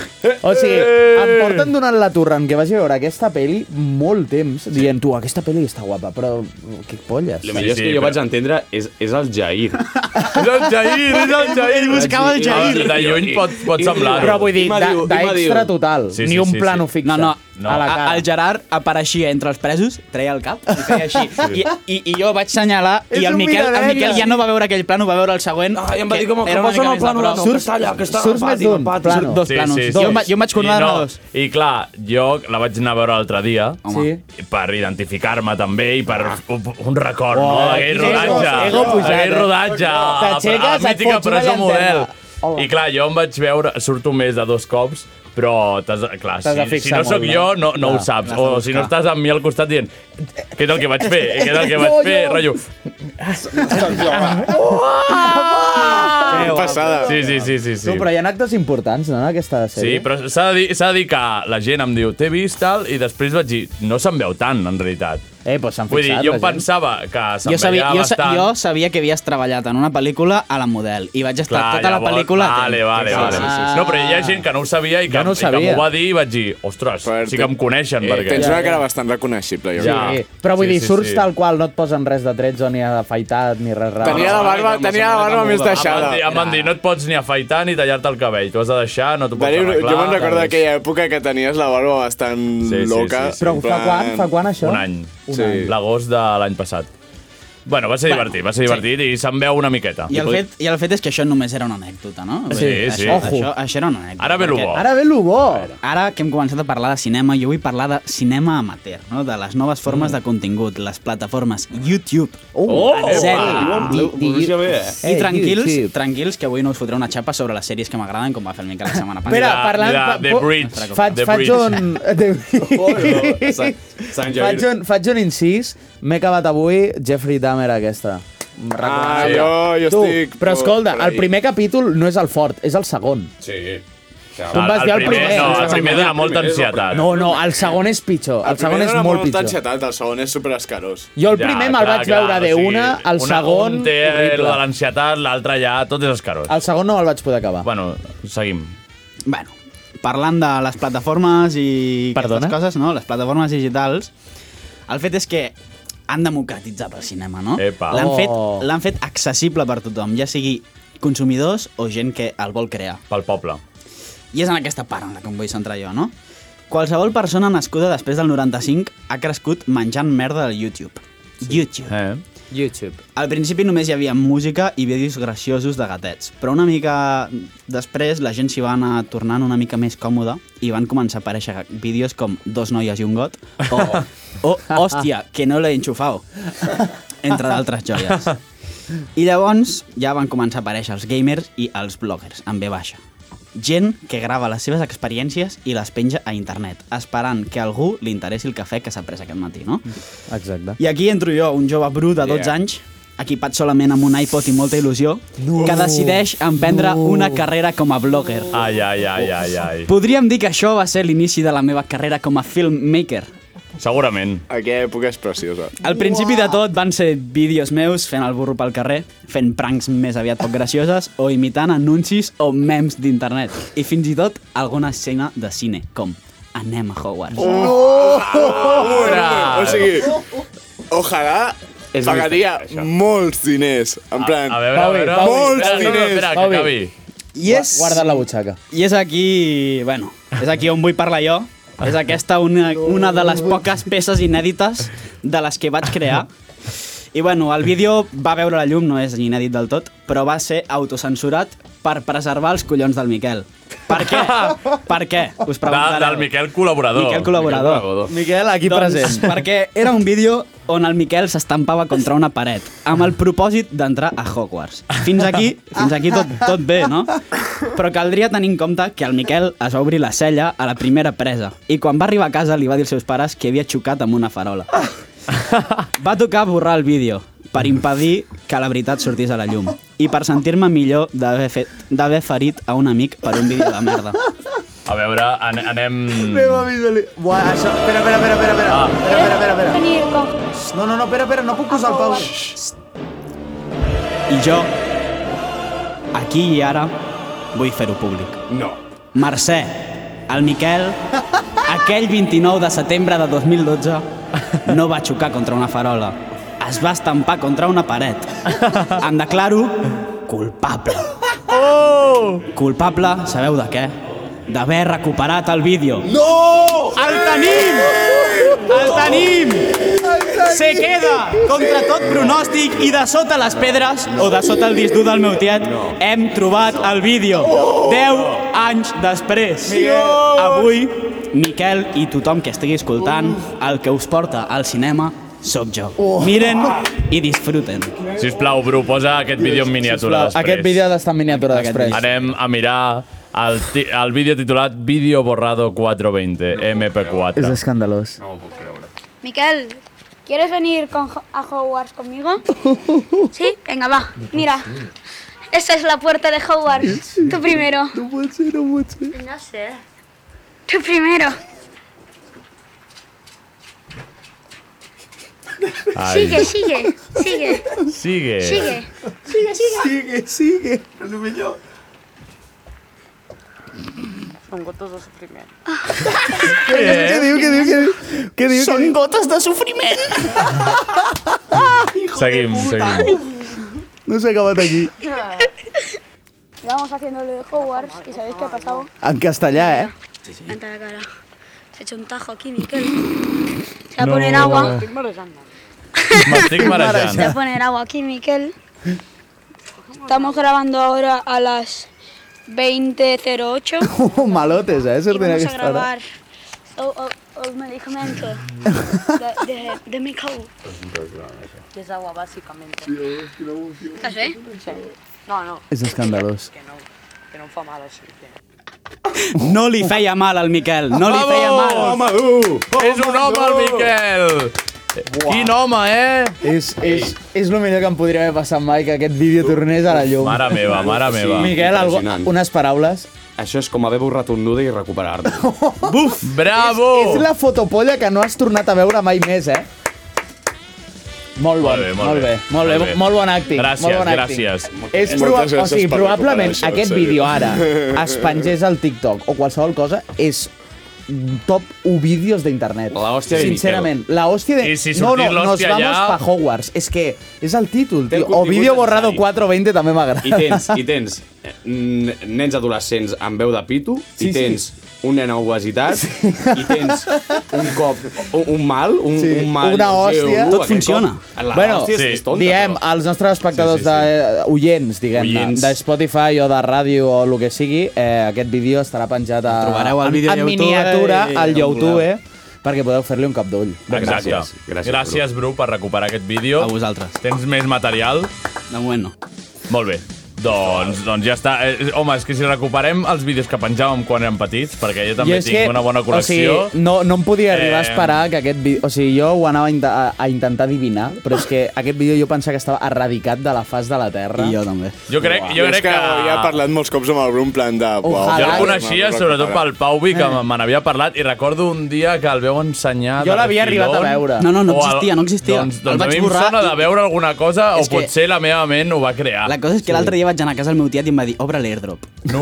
S8: O sigui, em porten donant la turra en que vagi a veure aquesta peli molt temps, dient, tu, aquesta peli està guapa, però que polles.
S10: El millor és que jo vaig entendre és, és el
S9: *laughs*
S10: Jair.
S2: És el Jair, és el Jair. Ah,
S8: Ell buscava el Jair.
S2: De lluny pot, pot semblar.
S8: Però vull dir, de- d'extra total,
S2: Sí, sí,
S8: ni un
S2: sí, sí.
S8: plano fix.
S11: No, no, no.
S8: No.
S11: A
S8: A la cara.
S11: el Gerard apareixia entre els presos, treia el cap i feia així.
S8: *laughs* Sí.
S11: I, i, I jo vaig senyalar i
S8: És
S11: el
S8: un
S11: Miquel, el
S8: miravella.
S11: Miquel ja no va veure aquell plano, va veure el següent. Ah,
S8: em va dir com el que posa en el plano de nou, que està allà, que està Surts al més pati, d'un al pati. plano.
S11: Dos
S2: Sí,
S11: planos.
S2: sí, sí.
S11: Jo, em va- jo em vaig
S2: I
S11: coordinar
S2: no,
S11: no. dos.
S2: I clar, jo la vaig anar a veure l'altre dia
S11: Home. Ah.
S2: per identificar-me també i per un, un record,
S11: Oh,
S2: no? D'aquell
S11: ego-
S2: rodatge.
S11: ego pujat,
S2: D'aquell
S11: eh?
S2: rodatge. a- a-
S11: T'aixeques,
S2: a
S11: et
S2: mítica
S11: fots una
S2: presó model.
S11: llanterna. Hola.
S2: I clar, jo em vaig veure, surto més de dos cops, però t'has de- clar,
S8: T'has de
S2: si, si
S8: fixar
S2: no sóc
S8: molt,
S2: jo, no,
S8: no?
S2: no ho
S8: Clar,
S2: saps.
S8: l'has de
S2: O si no
S8: buscar.
S2: estàs amb mi al costat dient què és el que vaig fer,
S11: *laughs*
S2: què és el que vaig
S8: No,
S2: fer,
S8: jo.
S2: rotllo.
S8: Déu,
S2: Passada. Sí, sí, sí, sí. sí.
S8: Tu, però hi ha actes importants, no, en aquesta
S2: Sí,
S8: sèrie?
S2: però s'ha de, dir, s'ha de dir que la gent em diu t'he vist tal i després vaig dir no se'n veu tant, en realitat.
S8: Eh, doncs s'han
S2: Vull dir,
S11: fixat,
S2: jo
S11: la
S2: em
S11: gent.
S2: pensava que se'n
S11: Jo sabia,
S2: veia
S11: jo, sa-
S2: bastant.
S11: jo sabia que havies treballat en una pel·lícula a la model i vaig estar
S2: Clar,
S11: tota la
S2: llavors-
S11: pel·lícula...
S2: Vale, vale,
S11: Sí,
S2: vale.
S11: sí, sí, sí.
S2: No, però hi ha gent que no ho sabia i que,
S11: no ho
S2: i que
S11: sabia.
S2: m'ho va dir i vaig dir, ostres, sí que em coneixen.
S9: Eh,
S2: perquè...
S9: tens una cara bastant reconeixible, jo
S2: Ja.
S9: crec.
S8: Però vull sí, dir, surts sí, sí. tal qual, no et posen res de trets o ni afaitat ni res raro.
S9: Tenia la barba- tenia la barba més deixada.
S2: Em van dir, em van dir, no et pots ni afaitar ni tallar-te el cabell. T'ho has de deixar, no t'ho pots
S9: Teniu,
S2: arreglar.
S9: jo me'n recordo d'aquella època que tenies la barba bastant
S2: sí,
S9: loca.
S2: sí, sí. Però
S9: en
S2: fa
S9: plan-
S8: quan? Fa quan, això?
S2: Un any.
S8: Un Sí. any.
S2: L'agost de l'any passat. Bueno, va ser divertit, va ser divertit i se'n veu una miqueta.
S11: I el, fet, I el fet és que això només era una anècdota, no? Vull
S2: Sí,
S11: dir,
S2: sí.
S11: Això,
S2: Ojo.
S11: això, això era una anècdota.
S2: Ara ve lo
S11: perquè-
S2: bo.
S8: Ara ve lo bo.
S11: Ara que hem començat a parlar de cinema, jo vull parlar de cinema amateur, no? de les noves formes
S8: Mm.
S11: de contingut, les plataformes YouTube,
S8: Oh,
S11: en
S8: epa!
S11: sèrie,
S8: Ho coneixia
S11: i
S8: bé, eh? Eh, YouTube.
S11: tranquils, tranquils, que avui no us fotré una xapa sobre les sèries que m'agraden, com va fer el Miquel la setmana passada.
S8: Espera, parlant... pa- po- Faig, faig
S2: *laughs*
S8: un...
S2: Oh,
S11: Sant- Sant Jair.
S8: faig, un, faig un incís. M'he acabat avui Jeffrey Dahmer aquesta.
S9: Ah, jo, jo
S8: tu,
S9: estic...
S8: Però escolta,
S9: per
S8: el
S9: ahí.
S8: primer capítol no és el fort, és el segon.
S10: Sí.
S8: Tu em vas dir el primer. eh?
S2: No, el primer dona molta
S9: El primer és el
S2: ansietat.
S8: No, no, el segon és pitjor. El, segon
S9: primer
S8: és
S9: era
S8: molt
S9: molt
S8: pitjor.
S9: ansietat, el segon és superescarós.
S8: Jo el primer me'l vaig veure de una, el segon...
S2: Un té
S8: horrible.
S2: la de l'ansietat, l'altre ja, tot és escarós.
S8: El segon no me'l vaig poder acabar.
S2: Bueno, seguim.
S11: Bueno, parlant de les plataformes i
S8: Perdona?
S11: aquestes coses, no? les plataformes digitals, el fet és que han democratitzat el cinema, no?
S2: Epa.
S11: L'han
S2: Oh.
S11: fet, l'han fet accessible per tothom, ja sigui consumidors o gent que el vol crear.
S2: Pel poble.
S11: I és en aquesta part en la que em vull centrar jo, no? Qualsevol persona nascuda després del 95 ha crescut menjant merda del YouTube. YouTube.
S2: Eh?
S8: YouTube.
S11: Al principi només hi havia música i vídeos graciosos de gatets, però una mica després la gent s'hi va anar tornant una mica més còmoda i van començar a aparèixer vídeos com Dos noies i un got o, o Hòstia, que no l'he enxufat, entre d'altres joies. I llavors ja van començar a aparèixer els gamers i els bloggers, amb B baixa. Gent que grava les seves experiències i les penja a internet, esperant que algú li interessi el cafè que s'ha pres aquest matí, no?
S8: Exacte.
S11: I aquí entro jo, un jove bru de 12
S8: Yeah.
S11: yeah. anys, equipat solament amb un iPod i molta il·lusió, no. que decideix emprendre no. una carrera com a blogger.
S2: Ai, ai, ai, ai, ai.
S11: Podríem dir que això va ser l'inici de la meva carrera com a filmmaker.
S2: Segurament.
S9: Aquella època és preciosa.
S11: Al principi de tot van ser vídeos meus fent el burro pel carrer, fent pranks més aviat poc gracioses o imitant anuncis o memes d'internet. I fins i tot alguna escena de cine, com Anem a Hogwarts.
S9: Ura! O sigui, ojalà
S11: Ah, És
S9: pagaria
S11: misteri, això.
S9: molts diners. En plan,
S11: a veure, a veure.
S9: molts
S11: Espera, no, no,
S9: diners.
S11: espera, que Pauvi. acabi. I és...
S8: Guarda't la butxaca.
S11: I és aquí, bueno, és aquí on vull parlar jo. És aquesta una, una de les poques peces inèdites de les que vaig crear. I bueno, el vídeo va veure la llum, no és inèdit del tot, però va ser autocensurat per preservar els collons del Miquel. Per què? *laughs* Per què? Us
S2: De,
S11: preguntareu.
S2: del Miquel Col·laborador.
S11: Miquel col·laborador.
S8: Miquel, aquí
S11: doncs,
S8: present.
S11: Perquè era un vídeo on el Miquel s'estampava contra una paret amb el propòsit d'entrar a Hogwarts. Fins aquí, fins aquí tot, tot bé, no? Però caldria tenir en compte que el Miquel es va obrir la cella a la primera presa i quan va arribar a casa li va dir als seus pares que havia xocat amb una farola. Va tocar borrar el vídeo, per impedir que la veritat sortís a la llum i per sentir-me millor d'haver fet- d'haver ferit a un amic per un vídeo de merda.
S2: A veure, an anem...
S8: *laughs* Meva vida... Buah, això... Espera, espera, espera, espera. Ah. Espera, espera, espera,
S13: espera.
S8: No, no, no, espera, espera, no puc posar el pau.
S11: I jo, aquí i ara, vull fer-ho públic.
S10: No.
S11: Mercè, el Miquel, aquell 29 de setembre de 2012, no va xocar contra una farola. Es va estampar contra una paret. Em declaro culpable. Oh! Culpable, sabeu de què? D'haver recuperat el vídeo.
S8: No!
S11: El tenim! El tenim! Se queda contra tot pronòstic i de sota les pedres o de sota el disc dur del meu tiet hem trobat el vídeo. 10 anys després. Avui, Miquel i tothom que estigui escoltant, el que us porta al cinema sóc jo. Miren i disfruten.
S2: Si us plau, Bru, posa aquest vídeo en miniatura després.
S8: Aquest vídeo ha d'estar en miniatura després.
S2: Anem a mirar el, ti- el vídeo titulat Vídeo borrado 420, MP4.
S8: És escandalós.
S12: Miquel, ¿quieres venir con Ho- a Hogwarts *laughs* conmigo? Sí, venga, va. Mira, esa es la puerta de Hogwarts. Tú primero. No puede ser, no puede ser. No sé. Tú primero.
S2: Ai.
S12: Sigue, sigue, *laughs* sigue. Sigue.
S2: Sigue.
S12: Sigue, sigue.
S8: Sigue, sigue.
S12: Es lo mejor.
S14: Son gotos de sofriment.
S8: Què diu, què diu, què diu? Què diu?
S14: Són gotes de sofriment.
S2: Seguim, seguim.
S8: No s'ha acabat aquí.
S12: Vamos haciendo lo de Hogwarts y ¿sabéis qué ha pasado?
S8: En castellà, eh? *laughs*
S12: Ante la cara. Se ha hecho un tajo aquí, Miquel. Se va
S8: No.
S12: a poner agua.
S8: Estic
S2: M'estic
S12: Se va a
S2: marejant.
S12: poner agua aquí, Miquel. Estamos grabando ahora a las 20.08.
S8: Uh, malotes, eh?
S12: Y
S8: Sortint
S12: vamos a
S8: aquesta hora.
S12: grabar o, o, o
S8: *laughs*
S12: medicamento de, de, de mi cau.
S14: És agua, bàsicament.
S12: Estàs bé?
S14: Sí. No, no.
S8: És escandalós.
S14: Que no, que no em fa mal així. Que...
S11: No li feia mal al Miquel, no li feia mal.
S2: Home
S8: dur!
S2: És un home, el Miquel! Quin home, eh?
S8: És, és, és el millor que em podria haver passat mai, que aquest vídeo tornés a la llum.
S2: Mare meva, mare meva.
S8: Miquel, algo,
S10: Impressionant.
S8: unes paraules.
S10: Això és com haver borrat un nude i recuperar-lo.
S2: Buf! Bravo!
S8: És la fotopolla que no has tornat a veure mai més, eh? Molt bon, molt bé, molt, bé, molt, bé, molt bon acting.
S2: Gràcies,
S8: molt bon acting.
S2: gràcies.
S8: És
S2: Moltes
S8: proba
S2: gràcies
S8: o sigui,
S2: per
S8: probablement
S2: recuperar això,
S8: aquest
S2: en sèrio.
S8: vídeo ara es pengés al TikTok o qualsevol cosa és top 1 vídeos d'internet.
S10: La hòstia de
S8: Sincerament, la hòstia de...
S10: I si
S8: no, no,
S10: sortís l'hòstia
S8: nos vamos
S10: allà-
S8: pa Hogwarts. És que és el títol,
S10: Té el
S8: tio. O
S10: contingut
S8: vídeo borrado
S10: necessari.
S8: 420 també m'agrada.
S10: I
S8: *laughs*
S10: tens, i tens eh, n- nens adolescents amb veu de pito, sí, i tens sí. un nen a obesitat, sí. i tens un cop, un, un mal, un,
S8: Sí,
S10: un mal...
S8: una hòstia. Tot funciona.
S10: La
S8: Bueno,
S10: bueno, hòstia sí. és tonta,
S8: diem,
S10: però.
S8: als nostres espectadors
S10: Sí,
S8: sí, sí, sí. de eh, oients, diguem
S10: Oients.
S8: de Spotify o de ràdio o el que sigui, eh, aquest vídeo estarà penjat a,
S11: El trobareu al
S8: en-
S11: vídeo
S8: en
S11: YouTube
S8: miniatura
S11: i-
S8: al
S11: i on
S8: YouTube,
S11: vulgueu.
S8: perquè podeu fer-li un cap d'ull.
S2: Exacte. Gràcies, gràcies, gràcies Bru. per recuperar aquest vídeo. A
S11: vosaltres.
S2: Tens més material?
S11: De moment no.
S2: Molt bé. Doncs, doncs ja està. Eh, home, és que si recuperem els vídeos que penjàvem quan érem petits, perquè jo també
S8: és
S2: tinc una bona col·lecció...
S8: O sigui, no, no em podia arribar a
S2: Eh,
S8: esperar que aquest vídeo... O sigui, jo ho anava a, inta- a, a intentar adivinar, però és que aquest vídeo jo pensava que estava erradicat de la faç de la Terra.
S11: I jo també.
S2: Jo crec, jo
S9: és
S2: crec
S9: que...
S2: que...
S9: ja he parlat molts cops amb el Bru, en plan de... "Buah,
S2: Jo el
S9: m'ha
S2: coneixia
S9: recuperat".
S2: sobretot pel Pauvi, que me- me n'havia parlat, i recordo un dia que el veu ensenyar...
S8: Eh. Jo
S2: de
S8: l'havia
S2: refilón.
S8: arribat a veure. No, no, no
S2: O el-
S8: existia, no existia.
S2: Doncs,
S8: El
S2: doncs a
S8: vaig
S2: mi em
S8: borrar
S2: sona
S8: i-
S2: de veure alguna cosa, o
S11: És que-
S2: potser la meva ment ho va crear.
S11: La cosa és que l'altre dia vaig anar a casa del meu tiet i em va dir obre l'airdrop.
S2: No.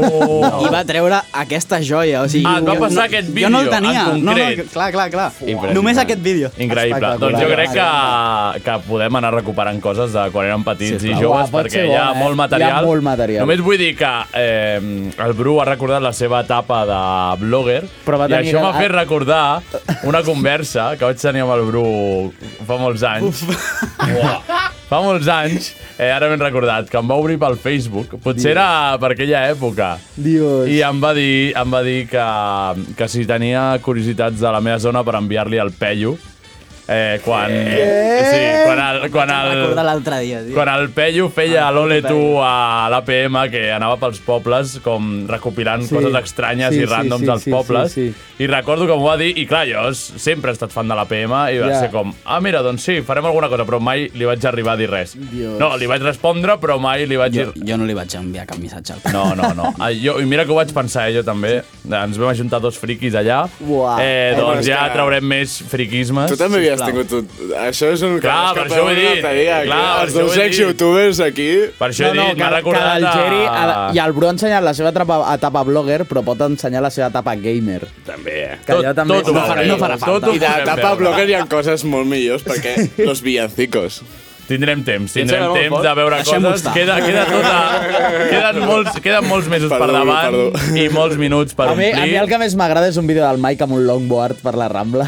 S11: I va treure aquesta joia. O sigui,
S2: Oh. Ah, et va
S11: jo-
S2: passar
S11: no-
S2: aquest
S11: Jo no
S2: vídeo,
S11: el tenia.
S2: en
S11: no,
S2: concret.
S11: no, clar, clar, clar.
S2: Impressionant.
S11: Només aquest vídeo.
S2: Increïble. Doncs jo crec que, que podem anar recuperant coses de quan érem petits
S8: Sí,
S2: i
S8: clar.
S2: joves,
S8: Uah, pot
S2: perquè
S8: ser
S2: hi ha
S8: bo, eh?
S2: molt
S8: Hi ha
S2: material.
S8: molt material.
S2: Només vull dir que eh, el Bru ha recordat la seva etapa de blogger
S8: Però va
S2: i
S8: tenir
S2: això
S8: que-
S2: m'ha fet recordar una conversa que vaig tenir amb el Bru fa molts anys. Uah. Fa molts anys, eh, ara m'he recordat, que em va obrir pel Facebook. Potser era per aquella època.
S8: Dios.
S2: I em va dir, em va dir que, que si tenia curiositats de la meva zona per enviar-li al Pello Eh, quan,
S11: Eh.
S2: sí, quan el, quan el,
S11: Recorda l'altre dia, tio.
S2: quan el Pello feia
S15: Ah,
S2: l'Ole tu a l'APM, que anava pels pobles com recopilant
S15: Sí.
S2: coses estranyes
S15: Sí,
S2: i
S15: sí,
S2: randoms
S15: sí,
S2: dels
S15: sí,
S2: pobles,
S15: sí, sí.
S2: i recordo que m'ho va dir, i clar, jo s- sempre he estat fan de l'APM, i va
S15: Ja.
S2: ser com, ah, mira, doncs sí, farem alguna cosa, però mai li vaig arribar a dir res. No, li vaig respondre, però mai li vaig...
S11: Jo, jo no li vaig enviar cap missatge al
S2: No,
S15: *laughs*
S2: no, no. Ah, Jo, I mira que ho vaig pensar, eh, jo també. Ens vam ajuntar dos friquis allà.
S9: Uah.
S2: Eh,
S9: Home,
S2: doncs ja
S9: és que-
S2: traurem més friquismes.
S9: Tu també havies
S2: sisplau.
S9: tingut... Un... Això és un...
S2: Clar, per això ho he dit. Clar, per
S9: els
S2: això ho
S9: dos
S2: he dit.
S9: ex-youtubers aquí...
S2: Per
S8: que, que el Geri ha, de- i el Bru ha ensenyat la seva etapa, etapa blogger, però pot ensenyar la seva etapa gamer.
S10: També, eh?
S8: Que allò també
S9: tot ho
S8: no, farà,
S9: veureu,
S8: no farà
S9: tot
S8: falta.
S9: ho I de podrem tapa veure. blogger hi ha coses molt millors, perquè
S2: *laughs*
S9: los villancicos.
S2: Tindrem temps, Tindrem temps de veure coses. Queda, queda tot a... queden, molts, queden molts mesos
S9: Perdó,
S2: per davant
S9: Bru,
S2: i molts minuts per
S8: A mi,
S2: omplir.
S8: a mi el que més m'agrada és un vídeo del Mike amb un longboard per la Rambla.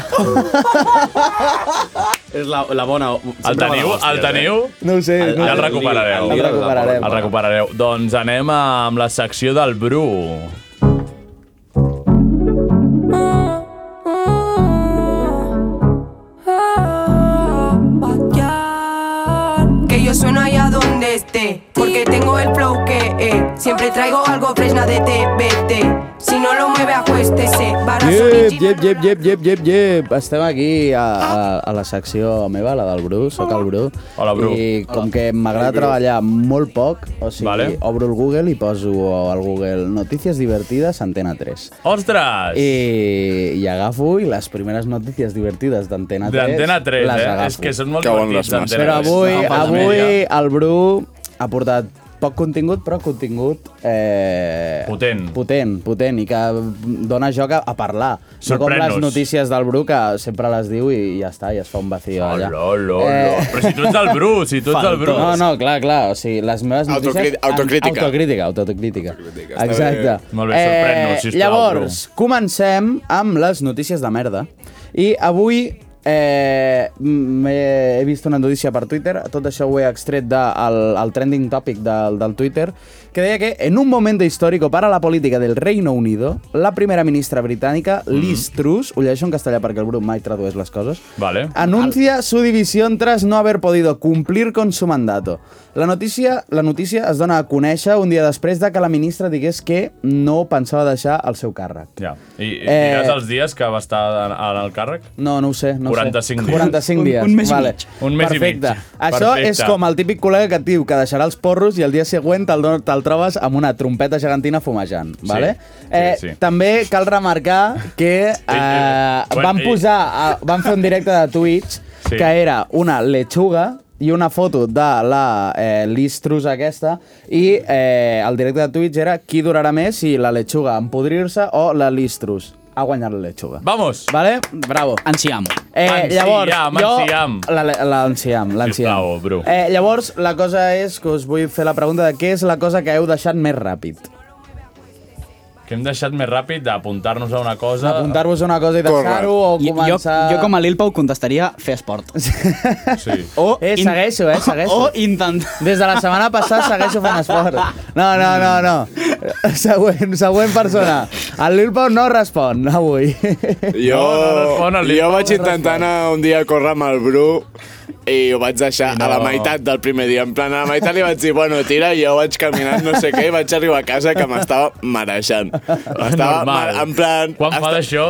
S10: És la, la bona...
S2: El teniu?
S9: eh.
S2: El teniu?
S8: No ho sé.
S2: El,
S8: no
S2: ja el
S8: sé.
S2: recuperareu.
S8: El recuperarem.
S2: El recuperareu. Doncs anem amb la secció del Bru.
S16: Que yo sueno allá donde esté, porque tengo el flow que eh, siempre traigo algo fresna de TBT. Si no lo mueve, acuéstese. Para
S8: Yep, yep, yep, yep, yep, yep, yep. Estem aquí a, a, a la secció meva, la del Bru, sóc el Bru.
S2: Hola, Bru.
S8: I com que m'agrada
S2: Hola, Bru.
S8: treballar molt poc, o sigui,
S2: Vale.
S8: vale. obro el Google i poso al Google notícies divertides Antena 3.
S2: Ostres!
S8: eh, I, i agafo i les primeres notícies divertides d'Antena 3
S2: D'Antena 3,
S8: les
S2: eh?
S8: agafo.
S2: És que són molt Cauen divertits, les masses. Antena
S8: Però
S2: 3.
S8: avui,
S2: No, falta
S8: avui
S2: media.
S8: el Bru ha portat poc contingut, però contingut... Eh,
S2: potent.
S8: Potent, potent, i que dona joc a, a parlar. No com les
S2: Sorprèn-nos.
S8: notícies del Bru, que sempre les diu i ja està, i es fa un vacío allà.
S2: Hola, hola, hola. Però si tu ets el Bru, si tu ets el Bru.
S8: Eh. No, no, clar, clar, o sigui, les meves notícies...
S2: Autocrit-
S8: Autocrítica,
S2: autocrítica.
S8: autocrítica.
S2: està
S8: Exacte. Eh,
S2: bé. Molt bé, sorprèn-nos, sisplau,
S8: Llavors, Doncs comencem amb les notícies de merda. I avui Eh, m- he he vist una notícia per Twitter, tot això ho he extret del el trending topic del, del Twitter, que deia que en un momento histórico para la política del Reino Unido, la primera ministra britànica, Liz Truss, ho llegeixo en castellà perquè el grup mai tradueix les coses,
S2: Vale.
S8: Anuncia su división tras no haber podido cumplir con su mandato. La notícia, la notícia es dona a conèixer un dia després de que la ministra digués que no pensava deixar el seu càrrec.
S2: Ja. I, i
S8: Eh,
S2: diràs els dies que va estar en, en el càrrec?
S8: No, no ho sé. No ho
S2: 45
S8: sé.
S2: dies.
S8: 45
S2: Un-
S8: dies.
S2: un mes i
S8: vale.
S2: mig. Un mes i
S8: Perfecte.
S2: mig.
S8: Això
S2: Perfecte.
S8: és com el típic col·lega que et diu que deixarà els porros i el dia següent te'l don- te'l trobes amb una trompeta gegantina fumejant.
S15: Sí.
S8: Vale?
S15: Sí,
S8: eh,
S15: sí.
S8: També cal remarcar que eh,
S15: bueno,
S8: van
S15: eh.
S8: posar, eh, van fer un directe de Twitch
S15: Sí.
S8: que era una lechuga i una foto de la eh, Liz Truss aquesta i eh, el directe de Twitch era qui durarà més, si la lechuga en podrir-se o la Liz Truss. Ha guanyat la lechuga.
S2: Vamos.
S8: Vale? Bravo.
S11: Enciam.
S8: Eh, llavors,
S2: Enciam,
S8: jo...
S2: enciam.
S8: la- la- L'enciam, l'enciam.
S2: Sisplau, Bru.
S8: Eh, llavors, la cosa és que us vull fer la pregunta de què és la cosa que heu deixat més ràpid.
S2: Que hem deixat més ràpid d'apuntar-nos a una cosa...
S8: Apuntar-vos a una cosa i deixar-ho o començar...
S11: Jo, jo com a Lil Pau contestaria fer esport.
S2: Sí.
S11: O
S8: Eh, segueixo,
S11: Oh,
S8: eh, segueixo.
S11: *laughs* O intent...
S8: Des de la setmana passada segueixo fent esport. No, no, no, no. Següent, següent persona. El Lil Pau no respon avui.
S9: Jo, no, no jo vaig intentar anar un dia a córrer amb el Bru i ho vaig deixar no. a la meitat del primer dia. En plan, a la meitat li vaig dir, bueno, tira, i jo vaig caminant no sé què i vaig arribar a casa que m'estava marejant. M'estava
S2: Normal.
S9: mar- en plan...
S2: Quan fa d'això?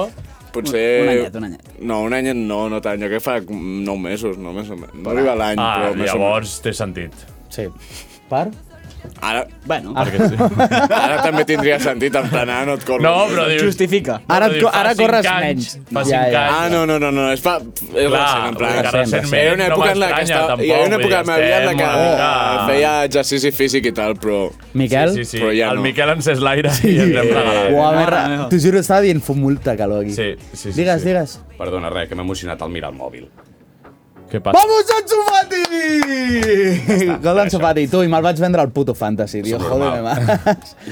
S9: Potser...
S2: Un anyet,
S9: un anyet. No, un anyet no, no tant. Jo que fa nou mesos, no més o menys. No
S2: Ah,
S9: arriba l'any, però més o menys.
S2: llavors té sentit.
S8: Sí. Per?
S9: Ara...
S11: Bueno.
S2: Perquè sí.
S9: Ara també tindria sentit, en plan, ara no et corro.
S2: No, però dius- Justifica. Ara et co- ara corres menys. Fa cinc anys.
S9: Ah, no, no, no, no, és fa... És
S2: Clar,
S9: recent, en plan.
S2: que recentment
S9: Era una
S2: no
S9: època en la que
S2: m'estranya,
S9: estava...
S2: tampoc,
S9: Hi havia una època en
S2: vull dir,
S9: la vida en la
S2: estem
S9: que
S2: una mica-
S9: feia exercici físic i tal, però...
S8: Miquel?
S2: Sí, sí, sí.
S9: Però ja
S2: el
S9: no.
S2: Miquel encès l'aire sí. i ens hem regalat.
S8: Uau, no, no, T'ho juro, estava dient, fa molta calor aquí.
S10: Sí, sí, sí.
S8: Digues,
S10: sí.
S8: digues.
S10: Perdona, res, que m'he emocionat al mirar el mòbil.
S2: Què
S8: Vamos, Ansu Fati! Gol d'Ansu Fati. Tu, i me'l vaig vendre al puto fantasy, tio.
S10: Normal.
S8: Joder, mà.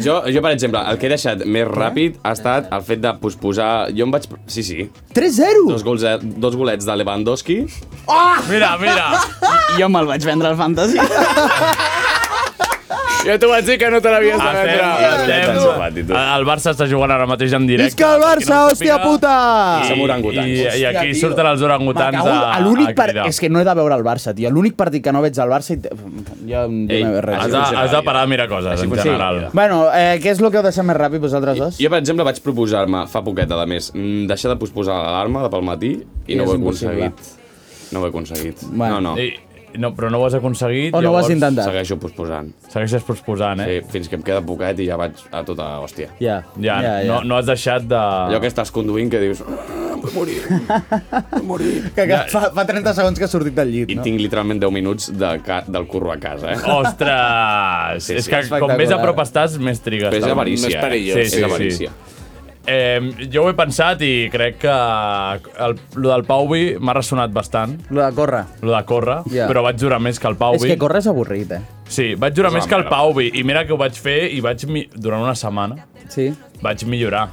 S10: Jo, jo, per exemple, el que he deixat més ràpid ha estat el fet de posposar... Jo em vaig... Sí, sí.
S8: 3-0!
S9: Doncs
S10: Dos, gols, de- dos golets de Lewandowski.
S11: Ah!
S2: *laughs* Mira, mira!
S11: Jo me'l vaig vendre al Fantasy.
S9: Jo t'ho vaig dir que no te l'havies
S10: Ah,
S9: de
S2: Estem-
S9: vendre.
S2: estem- El Barça està jugant ara mateix en directe.
S8: Visca el Barça, hòstia puta!
S2: I, i, i aquí surten els orangutans
S8: Me cago en-
S2: a,
S8: l'únic
S2: a
S8: par-
S2: cridar.
S8: És que no he de veure el Barça, tio. L'únic partit que no veig al Barça... i te- Jo, jo
S2: Ei,
S8: no veig res.
S2: has, de, has de parar de mirar coses,
S10: Així
S2: en
S10: funciona.
S2: general.
S8: Bueno, eh, què és el que heu deixat més ràpid, vosaltres dos?
S10: Jo, per exemple, vaig proposar-me fa poquet, a més, mm, deixar de posposar l'alarma de pel matí i
S8: I
S10: no ho
S8: és
S10: he
S8: impossible.
S10: aconseguit. No ho he aconseguit.
S8: Bueno.
S10: No, no.
S2: I- no, però no ho has aconseguit.
S10: O no ho has intentat.
S2: Segueixo posposant. Segueixes posposant, eh?
S10: Sí, fins que em queda poquet i ja vaig a tota hòstia.
S8: Ja,
S2: Ja, ja, ja. No, no has deixat de...
S10: Allò que estàs conduint que dius... "Ah,
S8: Que, que fa, fa 30 segons que ha sortit del llit,
S10: I
S8: no?
S10: tinc literalment 10 minuts de ca del curro a casa, eh?
S9: Oh,
S2: Ostres! és que com més a prop estàs, més trigues.
S10: Però és
S2: També.
S10: avarícia, Més eh? perillós. És avarícia.
S2: Eh, jo ho he pensat i crec que el, lo del Pauvi m'ha ressonat bastant.
S8: Lo de córrer.
S2: Lo de córrer,
S8: Ja.
S2: però vaig jurar més que el Pauvi.
S8: És que córrer és avorrit, eh?
S2: Sí, vaig jurar
S8: És
S2: més
S8: una
S2: que el
S8: merda.
S2: Pauvi. I mira que ho vaig fer i vaig... Mi... Durant una setmana
S8: sí.
S2: vaig millorar.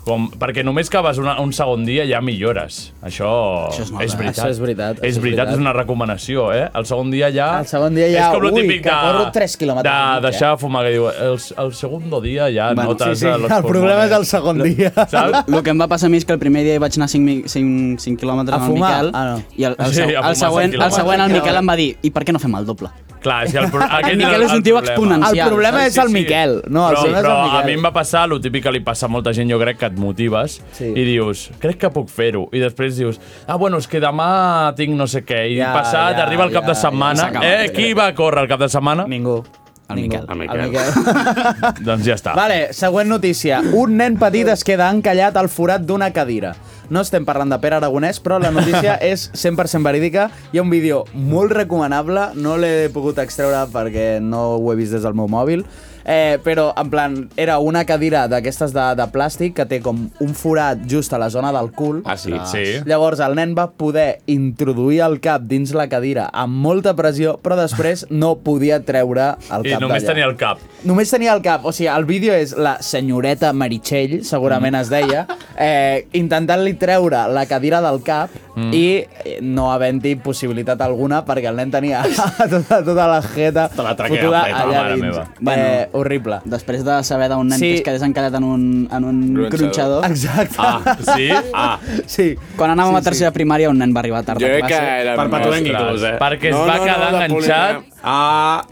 S2: Com, perquè només que vas una, un segon dia ja millores. Això,
S8: Això és molt
S2: és
S8: bé.
S2: veritat.
S8: Això és veritat, això
S2: És
S8: és
S2: veritat,
S8: veritat.
S2: és una recomanació, eh? El segon dia ja...
S8: El segon dia ja,
S2: és com lo
S8: ui,
S2: típic
S8: que corro tres quilòmetres
S2: De,
S8: i mig, eh?
S2: deixar de fumar, que diu... El, el segon dia ja bueno, notes...
S8: sí, sí,
S2: los
S8: el problema
S2: pulmones.
S8: és el segon dia.
S2: Saps?
S11: El que em va passar a mi és que el primer dia hi vaig anar 5, 5, 5 quilòmetres
S8: A
S11: amb el
S8: fumar?
S11: Miquel
S8: Ah, no.
S11: i el, el,
S8: Sí,
S11: sí,
S8: a fumar
S11: el, següent,
S8: cinc
S11: el següent el
S8: quilòmetres.
S11: Miquel em va dir i per què no fem el doble?
S2: Clar, és que
S11: *laughs*
S2: el, pro-
S11: El
S2: aquest
S11: Miquel és un tio exponencial,
S8: El problema saps? és el Miquel, no, el
S2: però,
S8: problema és el
S2: però
S8: Miquel.
S2: a mi em va passar el típic que li passa a molta gent, jo crec que et motives sí. i dius, crec que puc fer-ho. I després dius, ah, bueno, és que demà tinc no sé què. I
S8: Ja,
S2: ja, passat,
S8: ja,
S2: ja, arriba el cap
S8: ja,
S2: de setmana.
S8: s'ha acabat,
S2: eh, qui va córrer el cap de setmana?
S8: Ningú.
S2: El Miquel. El
S8: El Miquel.
S2: doncs ja està.
S8: Vale, següent notícia. Un nen petit es queda encallat al forat d'una cadira. No estem parlant de Pere Aragonès, però la notícia
S2: *laughs*
S8: és 100% verídica. Hi ha un vídeo molt recomanable, no l'he pogut extreure perquè no ho he vist des del meu mòbil, eh, però en plan, era una cadira d'aquestes de, de plàstic que té com un forat just a la zona del cul.
S10: Ah, sí? Sí.
S8: Llavors el nen va poder introduir el cap dins la cadira amb molta pressió, però després no podia treure el
S2: I
S8: cap
S2: només
S8: d'allà.
S2: tenia el cap.
S8: Només tenia el cap, o sigui, el vídeo és la senyoreta Meritxell, segurament es deia, eh, intentant-li treure la cadira del cap mm. i eh, no havent-hi possibilitat alguna perquè el nen tenia *laughs* tota, tota la jeta Te la
S11: traquera feta, mare meva.
S8: Bueno, eh, horrible.
S11: Després de saber d'un nen
S8: Sí.
S11: sí. que es quedés encallat en un, en un
S8: Gronxador.
S11: gronxador.
S8: Exacte.
S10: Ah, sí? Ah.
S8: *laughs* Sí.
S11: Quan anàvem
S10: Sí,
S11: a tercera primària un nen va arribar tard
S10: Jo
S11: a
S10: crec
S11: classe.
S10: que era Per Patulenc mestre. inclús, eh?
S2: Perquè es No, va no, no, quedar de enganxat Polinyà.
S10: a...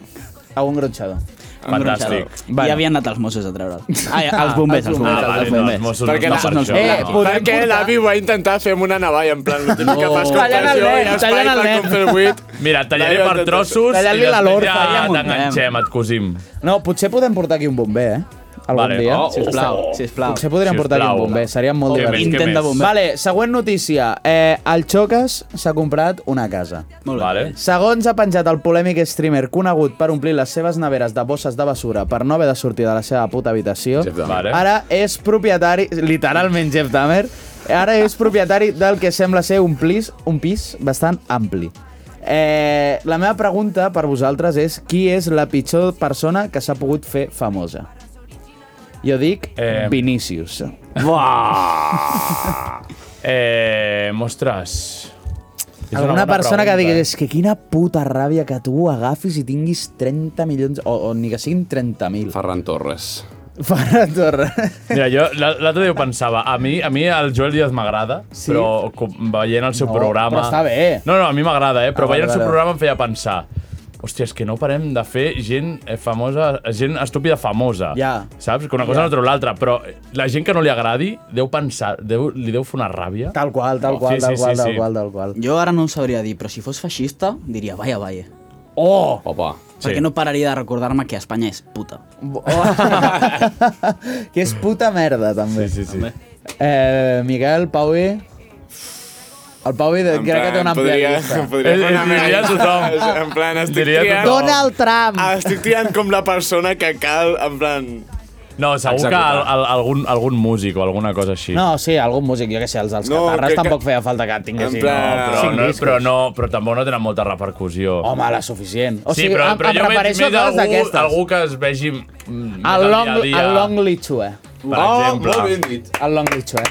S8: A un gronxador.
S2: Fantàstic.
S11: Bueno. I havien anat els Mossos a treure'l. *laughs* Ah, ja, els bombers,
S8: Ah,
S11: els bombers.
S2: vale,
S11: els
S2: no, els
S11: bombers.
S2: Mossos no
S11: perquè
S2: estan
S11: Mossos no els
S2: per això.
S11: bombers.
S2: Eh,
S11: podem
S9: Perquè l'avi va intentar fer amb una navalla, en plan, lo típic que fas com
S8: Tallant el
S9: pressió
S8: nen,
S9: i espai
S8: tallant el
S9: per
S8: nen.
S9: com fer el buit.
S2: Mira, et tallaré
S8: Tallar-li
S2: per trossos i
S8: la
S2: després
S8: lorza, ja
S2: ja
S8: muntem.
S2: t'enganxem, et cosim.
S8: No, potser podem portar aquí un bomber, eh? Algun
S2: Vale.
S8: dia,
S2: Oh,
S11: sisplau, sisplau.
S8: Potser podríem
S11: Sisplau.
S8: portar aquí un bomber, seria molt
S11: Què
S8: divertit.
S11: més, què Intent de més? bomber.
S8: Vale, següent notícia. Eh, el Xoques s'ha comprat una casa.
S11: Molt bé.
S2: Vale.
S8: Segons ha penjat el polèmic streamer conegut per omplir les seves neveres de bosses de basura per no haver de sortir de la seva puta habitació,
S2: Vale.
S8: ara és propietari, literalment Jeff Dahmer, ara és propietari del que sembla ser un, plis, un pis bastant ampli. Eh, la meva pregunta per vosaltres és qui és la pitjor persona que s'ha pogut fer famosa? Jo dic eh...
S2: Eh.
S8: Vinícius.
S2: Buah! eh, ostres. És una
S8: Alguna
S2: bona
S8: persona
S2: pregunta,
S8: que digui,
S2: eh?
S8: és que quina puta ràbia que tu agafis i tinguis 30 milions, o, o ni que siguin 30.000.
S10: Ferran Torres.
S8: Ferran Torres.
S2: Mira, jo l- l'altre dia ho pensava. A mi, a mi el Joel Díaz m'agrada, sí? però com, veient el seu
S8: No,
S2: programa...
S8: però està bé.
S2: No, no, a mi m'agrada, eh? però
S8: Ah,
S2: veient el seu
S8: vale, vale.
S2: programa em feia pensar... Hòstia, és que no parem de fer gent eh, famosa, gent estúpida famosa.
S8: Ja.
S2: Saps? Que una cosa
S8: Ja.
S2: no treu l'altra, però la gent que no li agradi deu pensar, deu, li deu fer una ràbia.
S8: Tal qual, tal
S2: Oh,
S8: qual,
S2: sí,
S8: tal
S2: sí,
S8: qual,
S2: sí,
S8: tal
S2: sí.
S8: qual, tal
S2: *laughs*
S8: qual.
S11: Jo ara no ho sabria dir, però si fos feixista, diria vaya, vaya.
S8: Oh!
S10: Opa.
S11: Perquè no pararia de recordar-me que Espanya és puta.
S8: Que és puta merda, també.
S2: Sí, sí, sí.
S8: Eh, Miquel, Pauvi... El Pauvi de,
S9: En
S8: crec que té una
S9: plan,
S8: àmplia
S9: podria,
S8: llista.
S9: *laughs* podria fer una
S2: diria
S9: mena-
S2: tothom.
S9: En plan, estic
S2: Diria
S9: triant...
S2: tothom.
S8: Donald Trump!
S9: Estic triant com la persona que cal, en plan...
S2: No, segur
S9: Executar.
S2: que al, al, algun, algun músic o alguna cosa així.
S8: No, sí, algun músic, jo què sé, els, els
S9: No,
S8: no,
S9: crec
S8: catarres
S9: que-
S8: tampoc feia falta que tinguessin...
S2: Sí, no, però,
S8: cinc
S2: no,
S8: discos.
S2: però, no, però tampoc no tenen molta repercussió.
S8: Home, la suficient. O
S2: sí,
S8: sigui,
S2: però,
S8: em-
S2: però
S8: em
S2: jo veig
S8: refereixo a
S2: més
S8: coses
S2: algú,
S8: d'aquestes.
S2: algú que es vegi mm, més
S8: El
S2: al
S8: long, Oh,
S2: dia a dia.
S8: el long lichue.
S2: Per exemple.
S8: El long lichue.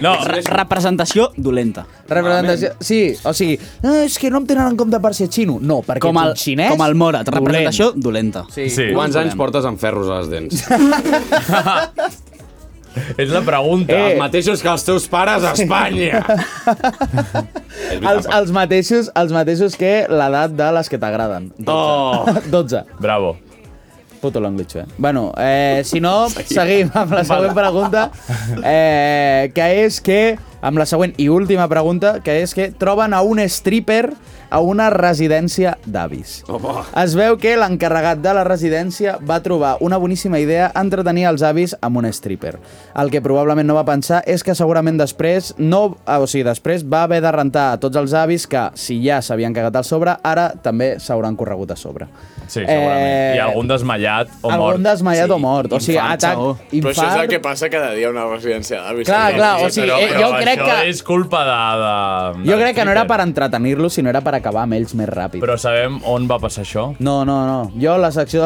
S2: No,
S11: representació dolenta.
S8: Representació... Sí, o sigui, no, és que no em tenen en compte per ser xino. No, perquè
S11: Com el,
S8: ets un xinès...
S11: com el Morat,
S8: dolent.
S11: representació dolenta.
S8: Sí. Sí.
S10: Quants
S11: Dolent.
S10: anys portes amb ferros a les dents?
S2: És la pregunta.
S10: Eh. Els mateixos que els teus pares a Espanya.
S8: Els, els, mateixos, els mateixos que l'edat de les que t'agraden. 12.
S2: Oh.
S8: 12.
S2: Bravo.
S8: Puto l'anglitxo, eh? Bueno, eh, si
S2: *laughs*
S8: no, seguim amb la següent pregunta, eh, que és que, amb la següent i última pregunta, que és que troben a un stripper a una residència d'avis.
S10: Opa.
S8: Es veu que l'encarregat de la residència va trobar una boníssima idea entretenir els avis amb un stripper. El que probablement no va pensar és que segurament després no, ah, o sigui, després va haver de rentar a tots els avis que, si ja s'havien cagat al sobre, ara també s'hauran corregut a sobre.
S2: Sí, segurament.
S8: Eh,
S2: Eh... I algun desmallat o mort.
S8: Algun desmallat sí, o mort. O sigui, atac,
S9: Però això és el
S8: infart...
S9: que passa cada dia a una residència d'avis.
S8: Clar,
S9: Sí,
S8: clar,
S9: sí,
S8: o sigui,
S9: però-
S8: eh,
S9: però
S8: jo
S9: això
S8: crec que-
S2: És culpa de... de, de
S8: Jo crec que no era per entretenir-los, sinó era per acabar amb ells més ràpid.
S2: Però sabem on va passar això?
S8: No, no, no. Jo la secció...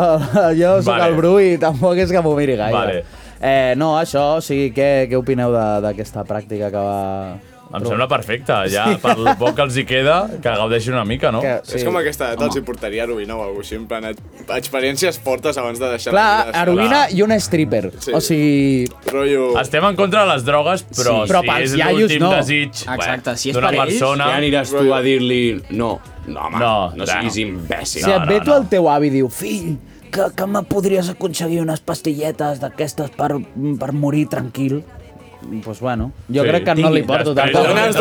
S8: Jo sóc
S2: Vale.
S8: el Bru i tampoc és que m'ho miri gaire.
S2: Vale.
S8: Eh, no, això, o sigui, què, què opineu de- d'aquesta pràctica que va...
S2: Em sembla perfecte, ja,
S8: Sí.
S2: sí. pel poc que els hi queda, que gaudeixin una mica, no? Que,
S9: És com aquesta edat els hi portaria heroïna o alguna cosa així, en plan, et- experiències fortes abans de deixar la
S8: Clar,
S9: vida.
S8: heroïna i un stripper. Sí. O sigui...
S9: Rollo...
S2: Estem en contra de les drogues, però,
S8: Sí. Però
S2: si
S8: pels
S2: és
S8: iaios,
S2: l'últim
S8: no.
S2: desig
S8: Exacte,
S2: bé,
S8: si és
S2: d'una
S8: per ells,
S2: persona...
S10: ja aniràs tu a dir-li no. No, home, no, no siguis
S8: Si
S10: imbècil.
S8: et ve tu el teu avi i diu, fill, que, que me podries aconseguir unes pastilletes d'aquestes per, per morir tranquil. Doncs pues bueno, jo
S2: Sí.
S8: crec que no li porto tant.
S2: Després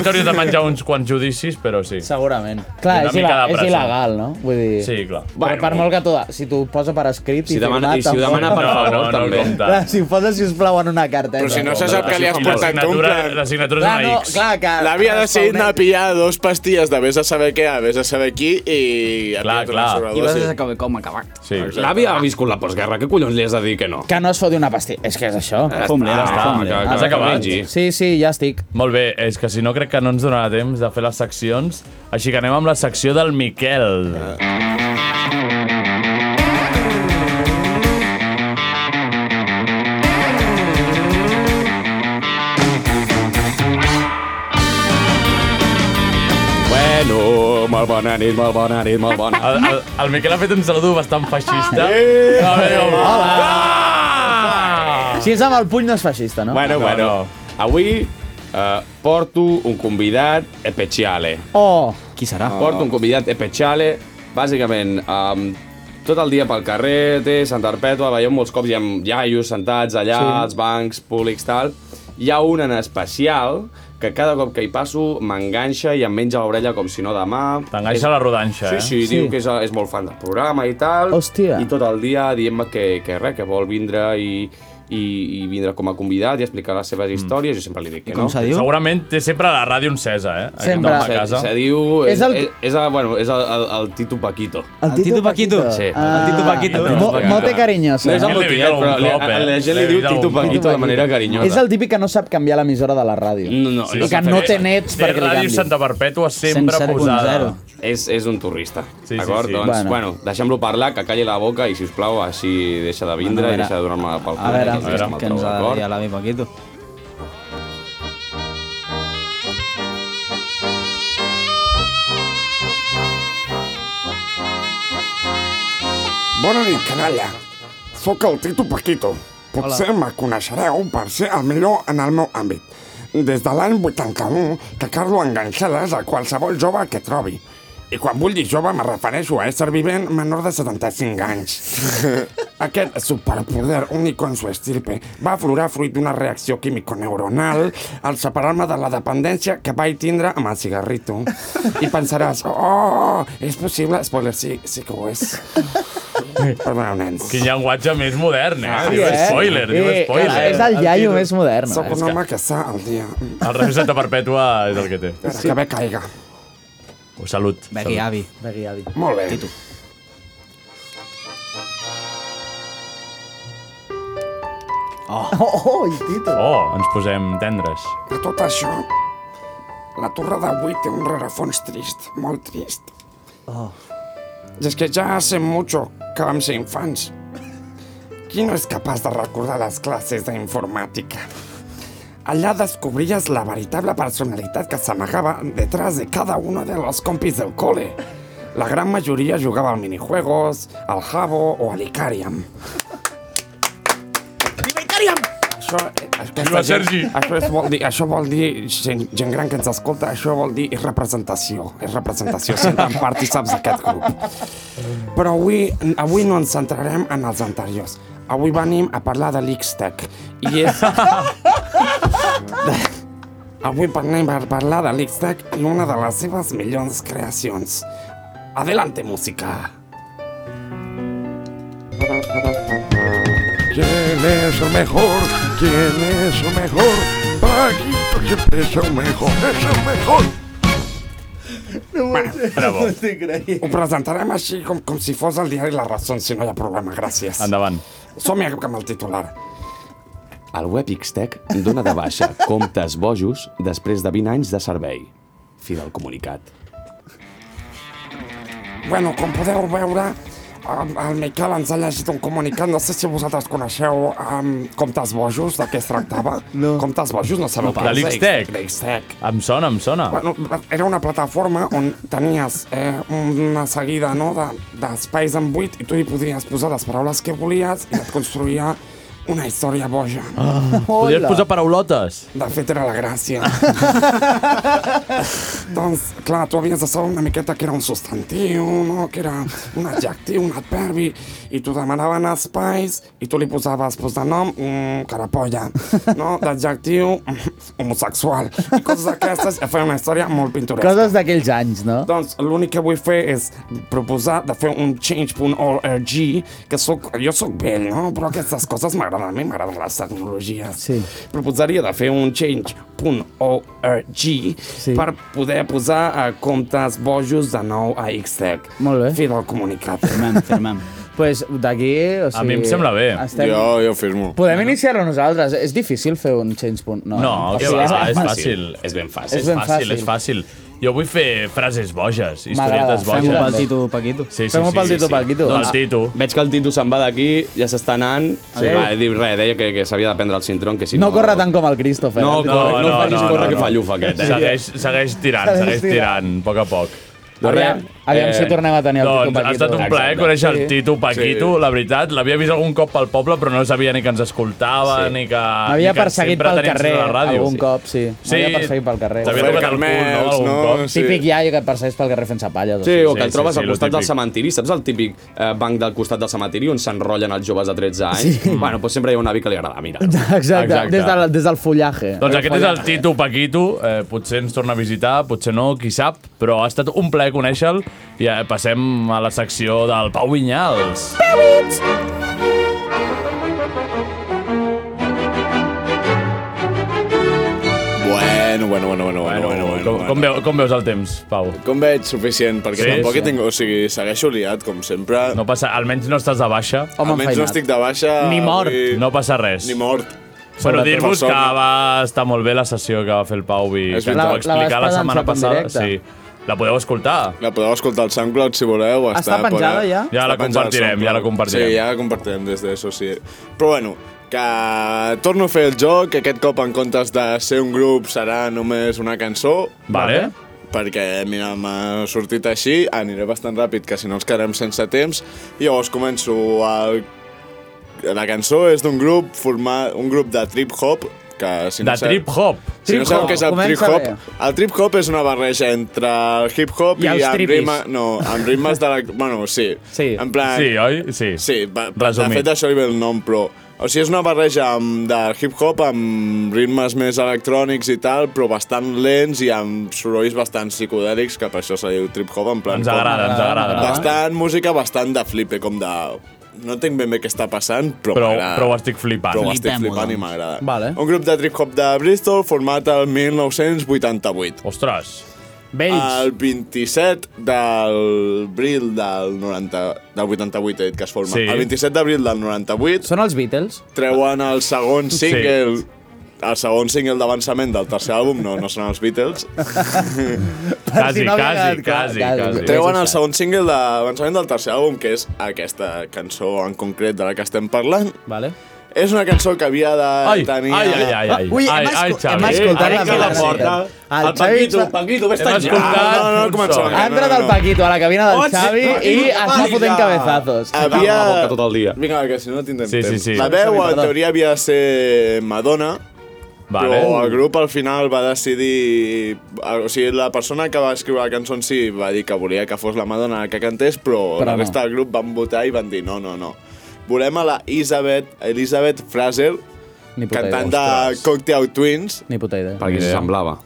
S2: t'hauries de menjar uns quants judicis, però sí.
S8: Segurament. Clar,
S2: Una
S8: és,
S2: mica
S8: il
S2: de
S8: és
S2: presó.
S8: il·legal, no? Vull dir...
S2: Sí, clar.
S8: Bueno, per molt que tu, si t'ho posa per escrit...
S10: Si
S8: i
S10: demana-
S8: firmat,
S10: i si ho
S8: tampoc-
S10: demana per No, favor, no, no també. compta.
S8: *laughs* Clar, si ho posa, sisplau, en una carta.
S9: Però si no se sap que li has
S10: I la
S9: portat tu, en
S10: signatura-
S9: plan...
S10: la signatura és Clar, una no, X. clar, que-
S9: L'avi ha
S10: que
S9: decidit
S10: respondem.
S9: anar a pillar dos pastilles de vés a saber què, a vés a saber qui, i... ha pillat una
S11: I vas
S9: sobredosi.
S11: a saber com ha acabat.
S2: Sí.
S10: L'àvia ha viscut la postguerra, què collons li has de dir que no?
S8: Que no es foti una pastilla. És que és això. Ah,
S10: Ja Fum-li, ja està, fum-li. Ah, que- que-
S2: Has
S10: que
S2: acabat?
S10: mengi.
S8: Sí, sí, ja estic.
S2: Molt bé, és que si no crec que no ens donarà temps de fer les seccions, així que anem amb la secció del Miquel.
S10: Bueno, molt bona nit, molt bona nit, molt
S9: *laughs*
S10: bona
S2: El, el, el Miquel ha fet un saludo bastant feixista.
S10: Eh!
S2: A veure, home.
S10: Ah!
S2: Ah!
S8: Si és amb el puny, no és feixista, no?
S10: Bueno, bueno. Avui eh, porto un convidat especiale.
S8: Oh!
S10: Qui serà? Porto un convidat especiale, bàsicament, um, tot el dia pel carrer, té Santa Perpètua, veieu molts cops hi ha iaios sentats allà,
S8: Sí.
S10: sí. als bancs públics, tal. Hi ha un en especial que cada cop que hi passo m'enganxa i em menja l'orella com si no demà.
S2: T'enganxa la rodanxa,
S10: sí,
S2: eh?
S10: Sí,
S2: Sí.
S10: sí, diu que és, és molt fan del programa i tal.
S8: Hòstia.
S10: I tot el dia dient-me que, que res, que vol vindre i, i, i vindre com a convidat i explicar les seves històries. Jo sempre li dic que no.
S2: Segurament té sempre la ràdio encesa, eh? Aquest
S10: Sempre.
S2: home a casa.
S10: Se, se diu... És,
S2: És el-
S10: el... és, és, el, bueno, és el, el, el Tito Paquito.
S8: El Tito Paquito?
S10: Sí.
S8: Ah.
S10: el Tito Paquito.
S8: Mo- mote carinyoso.
S10: No
S8: eh?
S10: és el
S8: L'he vist
S10: motivet,
S8: algun
S10: però
S8: cop,
S10: li-
S8: eh?
S10: la gent
S8: L'he
S10: li diu
S8: vist
S10: Tito
S8: algun
S10: Paquito de manera carinyosa.
S8: És el típic que no sap canviar l'emissora de la ràdio.
S10: no,
S8: I que no té nets perquè li
S10: Ràdio
S8: canviïn.
S10: Santa Perpètua
S8: sempre 107.0. posada.
S10: És, és un turrista, sí, d'acord?
S8: sí.
S10: Doncs,
S8: Bueno.
S10: bueno, bueno deixem-lo parlar, que calli la boca i, si us plau, així deixa de vindre
S11: Bueno,
S10: i
S11: a veure.
S10: deixa de donar-me pel cul.
S11: A veure,
S10: que és el
S11: que ens
S10: trau,
S11: ha de
S10: d'acord?
S11: dir a l'avi Paquito.
S15: Bona nit, canalla. Sóc el Tito Paquito. Potser
S17: Hola.
S15: me coneixereu per ser el millor en el meu àmbit. Des de l'any 81 que Carlo enganxades a qualsevol jove que trobi. I quan vull dir jove me refereixo a ésser vivent menor de 75 anys. Aquest superpoder únic en su estirpe va aflorar fruit d'una reacció químico-neuronal al separar-me de la dependència que vaig tindre amb el cigarrito. I pensaràs, oh, és possible? Spoiler, sí, sí que ho és. Perdoneu, nens.
S2: Quin llenguatge més modern, eh? diu spoiler, diu
S8: Eh,
S2: spoiler.
S15: Sóc un home que està al dia.
S2: El ràdio Santa Perpètua és el que té.
S15: Sí. Que bé caiga.
S2: Oh, salut.
S11: Begui
S2: salut.
S11: avi.
S8: Begui avi.
S15: Molt bé.
S11: Tito.
S2: Oh.
S8: Oh, i Tito.
S2: Oh, ens posem tendres.
S15: De tot això, la torre d'avui té un rerefons trist, molt trist.
S8: Oh.
S15: I és que ja hace mucho que vam ser infants. qui no és capaç de recordar les classes d'informàtica? Allà descobries la veritable personalitat que s'amagava detrás de cada uno de los compis del cole. La gran majoria jugava al minijuegos, al jabo o a l'Icariam. Això, eh, aquesta
S2: Viva
S15: gent-
S2: Sergi!
S15: Això, és, vol dir, això vol dir gent, gent gran que ens escolta, això vol dir és representació, és representació, sent en part i saps d'aquest grup. Però avui, avui no ens centrarem en els anteriors. Avui venim a parlar de l'Ixtec. I és... Avui venim a parlar de l'Ixtec i una de les seves millors creacions. Adelante, música!
S17: ¿Quién es el mejor? ¿Quién es el mejor? Paquito siempre es el mejor, es el mejor.
S15: Bravo.
S17: t'hi creia.
S15: Ho presentarem així com, com si fos el diari La Razón, si no hi ha problema, gràcies.
S2: Endavant.
S15: Som-hi amb el titular.
S10: El web Xtec dona de baixa comptes bojos després de 20 anys de servei. Fi del comunicat.
S15: Bueno, com podeu veure, um, el Miquel ens ha llegit un comunicat, no sé si vosaltres coneixeu um, Comptes Bojos, de què es tractava. No. Comptes Bojos, no sabeu
S2: De
S15: és
S2: l'Ixtec.
S15: De l'Ixtec.
S2: Em sona, em sona.
S15: Bueno, era una plataforma on tenies eh, una seguida no, de- d'espais en buit i tu hi podies posar les paraules que volies i et construïa una història boja.
S2: Ah, podries posar paraulotes.
S15: De fet, era la
S10: *laughs*
S15: gràcia. doncs, clar, tu havies de saber una miqueta que era un substantiu, no? que era un adjectiu, un adverbi, i t'ho demanaven espais i tu li posaves pues, de nom mm, carapolla, no? d'adjectiu mm, homosexual, i coses d'aquestes, i feia una història molt pintoresca.
S8: Coses d'aquells anys, no?
S15: Doncs l'únic que vull fer és proposar de fer un change.org, que soc, jo sóc vell, no? Però aquestes coses m'agraden, a mi m'agraden les tecnologies. Sí. Proposaria de fer un change.org sí. per poder posar eh, comptes bojos de nou a Xtec. Molt bé. Fi del comunicat.
S8: Firmem, firmem. *laughs* pues d'aquí... O sigui, Estem...
S9: Jo, jo firmo.
S8: Podem iniciar-lo nosaltres. És difícil fer un change punt. No,
S2: No, que
S8: Sí,
S2: va,
S8: és
S2: va, és
S8: fàcil.
S2: fàcil. És ben
S8: fàcil.
S2: És ben fàcil, és fàcil. Jo vull fer frases boges,
S8: M'agrada,
S2: historietes boges.
S8: fem-ho pel Tito
S2: Paquito. Sí, sí,
S10: Fem-ho
S2: sí,
S10: pel Tito
S2: sí. Doncs
S10: Paquito.
S2: Del Tito.
S10: Veig que el Tito se'n va d'aquí, ja s'està anant. Sí.
S8: Adéu.
S10: Va, he dit res, deia que, que s'havia de prendre el cintrón, que si
S8: No
S10: no...
S8: corre tant com el Christopher.
S10: No, no, no, no, facis córrer que fa llufa aquest, eh?
S2: Segueix, segueix tirant,
S8: Segueix
S2: segueix
S8: tirant.
S2: tirant, a poc a poc.
S8: Aviam- aviam si tornem a tenir el Tito
S2: doncs,
S8: Paquito.
S2: Ha estat un
S8: Exacte.
S2: plaer conèixer el
S8: Sí.
S2: Tito Paquito,
S8: Sí.
S2: la veritat. L'havia vist algun cop pel poble, però no sabia ni que ens
S8: Sí.
S2: escoltava, ni que...
S8: M'havia
S2: ni que
S8: perseguit
S2: sempre
S8: pel
S2: tenim
S8: carrer
S2: a la ràdio.
S8: algun cop, sí.
S2: Sí.
S8: M'havia perseguit pel carrer.
S2: T'havia tocat el cul, no? Algun cop.
S8: Típic iaio que et persegueix pel carrer fent doncs. sapalles.
S10: Sí, o que el trobes al costat del cementiri. Saps el típic eh, banc del costat del cementiri on s'enrotllen els joves de 13 anys? Sí. Bueno, doncs sempre hi ha un avi que li agrada, mira.
S8: Exacte, *laughs* Exacte. Des, del, des del follaje.
S2: Doncs aquest és el Tito Paquito, eh, potser ens torna a visitar, potser no, qui sap, però ha estat un plaer conèixer-lo i eh, passem a la secció del Pau Vinyals.
S9: Bueno, bueno, bueno, bueno, bueno, bueno, bueno,
S2: Com, com, veu, com veus el temps, Pau?
S9: Com veig, suficient, perquè
S2: Sí,
S9: sí, tampoc
S2: sí.
S9: sí. tinc... O sigui, segueixo liat, com sempre.
S2: No passa, almenys no estàs de baixa.
S9: Home Almenys no enfeinat. estic de baixa, Ni mort. avui-
S2: No passa res.
S9: Ah, Ni mort.
S2: Bueno,
S9: Sobretot.
S2: dir-vos
S9: Per
S2: que
S9: sort, no.
S2: va estar molt bé la sessió que va fer el Pau i
S9: És
S2: que
S9: veritat.
S2: ens va
S9: La- la
S2: explicar
S9: vas
S2: la
S9: pagar en Sap
S2: setmana
S9: en
S2: passada.
S9: directe.
S2: Sí. La podeu escoltar.
S9: La podeu escoltar al SoundCloud, si voleu.
S2: Està
S9: Està,
S2: penjada
S9: per-
S2: ja? Ja
S9: Està penjada
S2: la
S9: al
S2: compartirem,
S9: SoundCloud.
S2: ja la compartirem.
S9: Sí, ja la compartirem des d'això, sí. Però bueno, que torno a fer el joc, que aquest cop en comptes de ser un grup serà només una cançó.
S2: Vale.
S9: Perquè, mira, m'ha sortit així, aniré bastant ràpid, que si no ens quedarem sense temps. I llavors començo el... La cançó és d'un grup format... un grup de trip-hop, que si no
S2: De
S9: sap-
S2: trip-hop.
S9: Si no sabeu què és el
S2: Comença
S9: trip-hop,
S2: bé.
S9: el trip-hop és una barreja entre el hip-hop
S2: I
S9: i,
S2: els
S9: amb,
S2: tripis.
S9: rima, no, amb ritmes de
S2: *laughs*
S9: la... Bueno, sí. Sí. En plan...
S2: Sí, oi? Sí.
S9: Ah. Sí, va,
S2: Resumit.
S9: de fet això li ve el nom, però... O sigui, és una barreja amb, de hip-hop amb ritmes més electrònics i tal, però bastant lents i amb sorolls bastant psicodèlics, que per això se diu trip-hop, en plan...
S2: Ens
S9: com-
S2: agrada, ens agrada.
S9: Bastant música, bastant de flipe, com de... No tinc ben bé què està passant, però,
S2: Però-
S9: m'agrada.
S2: però ho estic flipant.
S9: Però ho estic
S2: Flipem-ho,
S9: flipant i
S2: doncs.
S9: m'agrada.
S2: Vale.
S9: Un grup de trip-hop de Bristol format el 1988.
S2: Ostres.
S9: Vells. El 27 d'abril del, 90, del 88 he dit que es forma.
S8: Sí.
S9: El 27 d'abril del 98
S8: Són els Beatles?
S9: treuen el segon single el segon single d'avançament del tercer àlbum no, no són els
S2: *laughs*
S9: Beatles.
S2: Quasi, si no havia quasi, quedat clar. quasi, quasi.
S9: Treuen el segon single d'avançament del tercer àlbum, que és aquesta cançó en concret de la que estem parlant.
S8: Vale.
S9: És una cançó que havia de
S2: Ai,
S9: tenir...
S2: ai, ai, ai, ai. Ui, hem Ai, esco- ai, Xavi. hem escoltat
S9: Ara
S2: la
S9: que
S2: Dolores.
S9: El
S2: El Xavi
S9: Paquito,
S2: s'ha-
S9: Paquito, vés
S2: Hem
S9: tan
S2: escoltat
S9: No, no, no, començarem. No,
S8: Ha
S9: no,
S8: entrat
S9: no.
S8: el Paquito a la cabina del
S9: Oh, sí,
S8: Xavi i
S9: Paquito,
S8: està
S9: Paquito.
S8: fotent cabezazos.
S2: Ah.
S9: Havia...
S10: tot el dia.
S9: Vinga, que si no tindrem
S10: Sí, sí,
S9: temps.
S10: sí.
S9: La
S10: Sí,
S9: veu, en
S10: perdó.
S9: teoria, havia de ser Madonna,
S10: Vale.
S9: però el grup al final va decidir... eh, O sigui, la persona que va escriure la cançó en si va dir que volia que fos la Madonna la que cantés, però,
S8: Però
S9: la
S8: no.
S9: resta del grup van votar i van dir no, no, no. Volem a la Elizabeth, Elizabeth Fraser,
S8: Ni puta idea.
S9: cantant de Cocktail Twins,
S8: Ni puta idea.
S10: Perquè se semblava.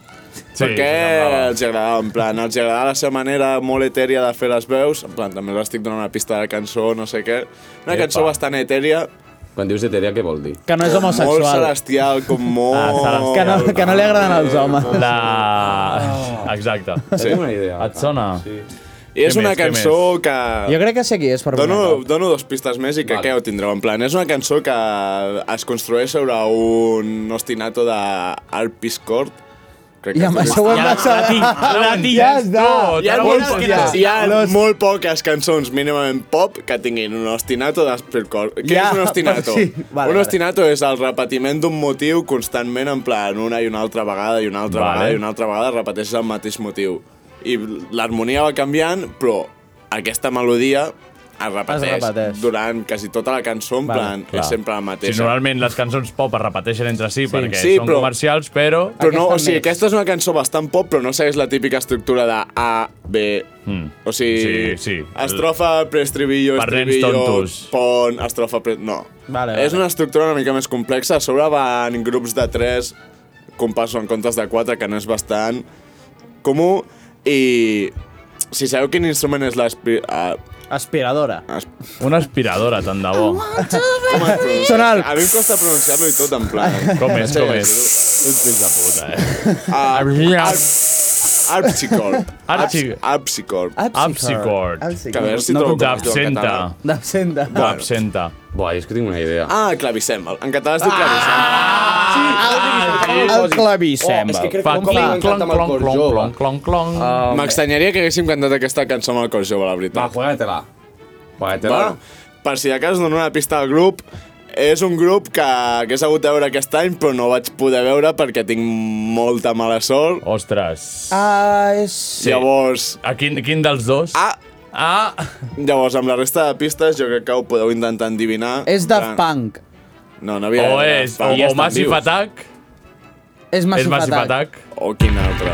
S9: Sí, perquè els agradava, en plan, els agradava la seva manera molt etèria de fer les veus, en plan, també l'estic donant una pista de cançó, no sé què. Una
S10: Epa.
S9: cançó bastant etèria.
S10: Quan dius heteria, què vol dir?
S8: Que no és homosexual.
S9: Molt celestial, com molt...
S2: Ah, celestial.
S8: Que no, que no li agraden els homes.
S2: *laughs* La... Exacte.
S9: Sí.
S10: Tinc una idea.
S2: Et sona?
S10: Sí.
S9: I és
S2: Què
S9: una
S2: més, què
S9: cançó que...
S8: Jo crec que sé qui és per
S9: Dono, dono dos pistes més i que què ho tindreu en plan. És una cançó que es construeix sobre un ostinato de Alpiscord. Crec
S8: I amb
S9: es diu.
S8: això ho hem de saber. Ja està.
S9: Hi ha, molt,
S8: Ja
S9: poques,
S8: està.
S9: hi ha molt poques cançons mínimament pop que tinguin un ostinato d'Espilcor. Què
S8: Ja,
S9: és un ostinato?
S8: sí, vale,
S9: un
S8: vale.
S9: ostinato és el repetiment d'un motiu constantment en plan una i una altra vegada i una altra
S2: Vale.
S9: vegada i una altra vegada repeteixes el mateix motiu. I l'harmonia va canviant, però aquesta melodia es repeteix,
S2: repeteix.
S9: durant quasi tota la cançó, en plan, és sempre la mateixa.
S2: Si normalment les cançons pop es repeteixen entre si sí. perquè
S9: Sí,
S2: són
S9: però-
S2: comercials, però...
S9: Però no, o sigui, aquesta és una cançó bastant pop, però no segueix la típica estructura de A, B...
S2: Mm.
S9: O sigui,
S2: Sí, sí.
S9: estrofa, preestribillo,
S2: Per nens
S9: estribillo,
S2: tontos.
S9: pon, estrofa, pre... No.
S8: Vale,
S9: És una estructura una mica més complexa. A sobre van grups de 3, compassos en comptes de 4, que no és bastant comú. I si sabeu quin instrument és l'espi... Uh,
S8: Aspiradora.
S2: Una aspiradora, tant de bo.
S8: Oh. Sona el...
S9: a mi em costa pronunciar-lo i tot, en plan...
S2: Com és,
S9: Sí,
S2: com és?
S9: sí.
S2: Un fill de
S8: *laughs*
S2: puta, eh?
S9: Ah, Arpsicorp.
S2: Arpsi-
S9: Arpsicorp.
S2: Apsicord.
S9: Que a veure si trobo com es diu en
S2: D'absenta.
S9: català.
S8: D'absenta.
S2: D'absenta.
S10: Buah, és que tinc una idea.
S9: Ah, clavicèmbal. En català es
S10: Ah!
S9: diu clavicèmbal. Ah,
S8: El clavicem.
S9: Oh, és que crec que
S2: Fa
S9: un cop
S2: clon,
S9: l'han
S2: clon,
S9: cantat amb el
S2: clon,
S9: cor
S2: clon,
S9: jove. Ah.
S2: clon, clon, clon.
S9: M'extanyaria que haguéssim cantat aquesta cançó amb el cor jove, la
S10: Va,
S9: veritat.
S10: juega-te-la. Juega-te-la.
S9: Bueno, per si de cas dono una pista al grup, és un grup que hagués hagut de veure aquest any, però no vaig poder veure perquè tinc molta mala sort.
S2: Ostres.
S8: Ah, és...
S9: Sí. Llavors...
S2: A quin, quin dels dos?
S9: Ah!
S2: Ah!
S9: Llavors, amb la resta de pistes, jo crec que ho podeu intentar endivinar.
S8: És
S9: Ah.
S8: Daft Punk.
S9: No, no havia
S2: O
S9: de
S2: és,
S9: Daft
S2: o,
S9: Punk.
S2: o Massive Attack.
S8: És
S2: és
S8: Massive
S2: Massive
S8: Attack.
S2: Attack.
S9: O quin altre?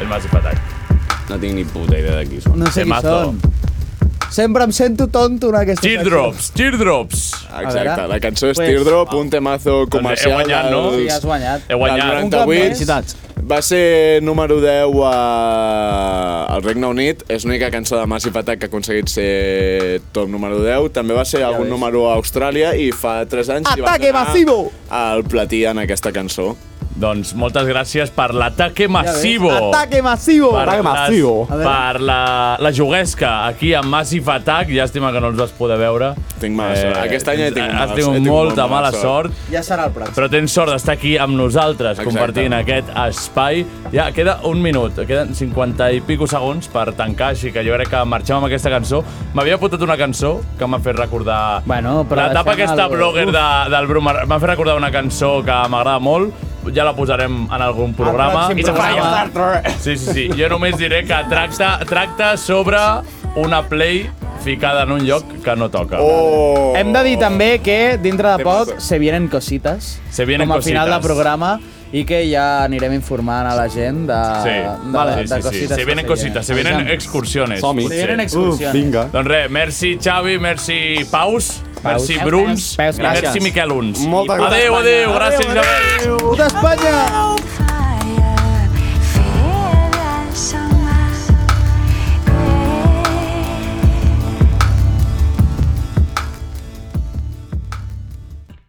S2: El Massive Attack.
S10: No tinc ni puta idea de qui són.
S8: No sé qui
S10: Temazo.
S8: són. Sempre em sento tonto en aquesta
S2: Teardrops, teardrops.
S8: A
S9: Exacte,
S8: veure.
S9: la cançó és
S8: Pues-
S9: Teardrop, un temazo comercial.
S2: he guanyat, no?
S9: dels-
S8: Sí, has guanyat.
S2: He guanyat.
S9: del
S2: Un
S8: cop
S9: 98. Va ser número 10 a... al Regne Unit. És l'única cançó de Massive Attack que ha aconseguit ser top número 10. També va ser algun número a Austràlia i fa 3 anys hi va
S8: Ataque
S9: anar
S8: masivo!
S9: al platí en aquesta cançó.
S2: Doncs moltes gràcies per l'ataque massivo.
S8: Ataque masivo.
S2: les- Per la, la juguesca aquí a Massive Attack. Llàstima que no els vas poder veure. Eh,
S9: Tinc mala sort. Aquest any he tingut mala-
S2: Has
S9: he
S2: tingut
S9: tingut
S2: molta
S9: molt mala
S2: mala sort.
S8: Ja serà el pròxim.
S2: Però tens sort d'estar aquí amb nosaltres,
S9: Exacte.
S2: compartint aquest espai. Ja queda un minut, queden 50 i pico segons per tancar, així que jo crec que marxem amb aquesta cançó. M'havia apuntat una cançó que m'ha fet recordar... Bueno,
S8: però
S2: L'etapa
S8: deixem
S2: aquesta
S8: el-
S2: blogger
S8: Uf.
S2: de, del Bru m'ha m'ha fet recordar una cançó que m'agrada molt, ja la posarem en algun programa.
S8: pròxim programa.
S2: Sí, sí, sí. Jo només diré que tracta, tracta sobre una play ficada en un lloc que no toca.
S9: Oh.
S8: Hem de dir també que dintre de poc se vienen cositas.
S2: Se vienen
S8: com a final
S2: cositas.
S8: de programa i que ja anirem informant a la gent de,
S2: Sí,
S8: de,
S2: vale,
S8: Ah, de
S2: sí, sí, sí.
S8: cositas.
S2: Se vienen cositas, se vienen excursiones.
S8: Som-hi.
S2: potser.
S8: Se vienen excursiones. Uf, vinga.
S2: Doncs res, merci Xavi, merci Paus, merci
S8: Peus,
S2: Bruns
S8: peus,
S2: i
S8: gràcies.
S2: merci Miquel Uns.
S8: Moltes
S2: adeu,
S8: gràcies.
S2: adeu, gràcies
S8: Adeu, adeu.
S2: Isabel.
S8: Puta Espanya!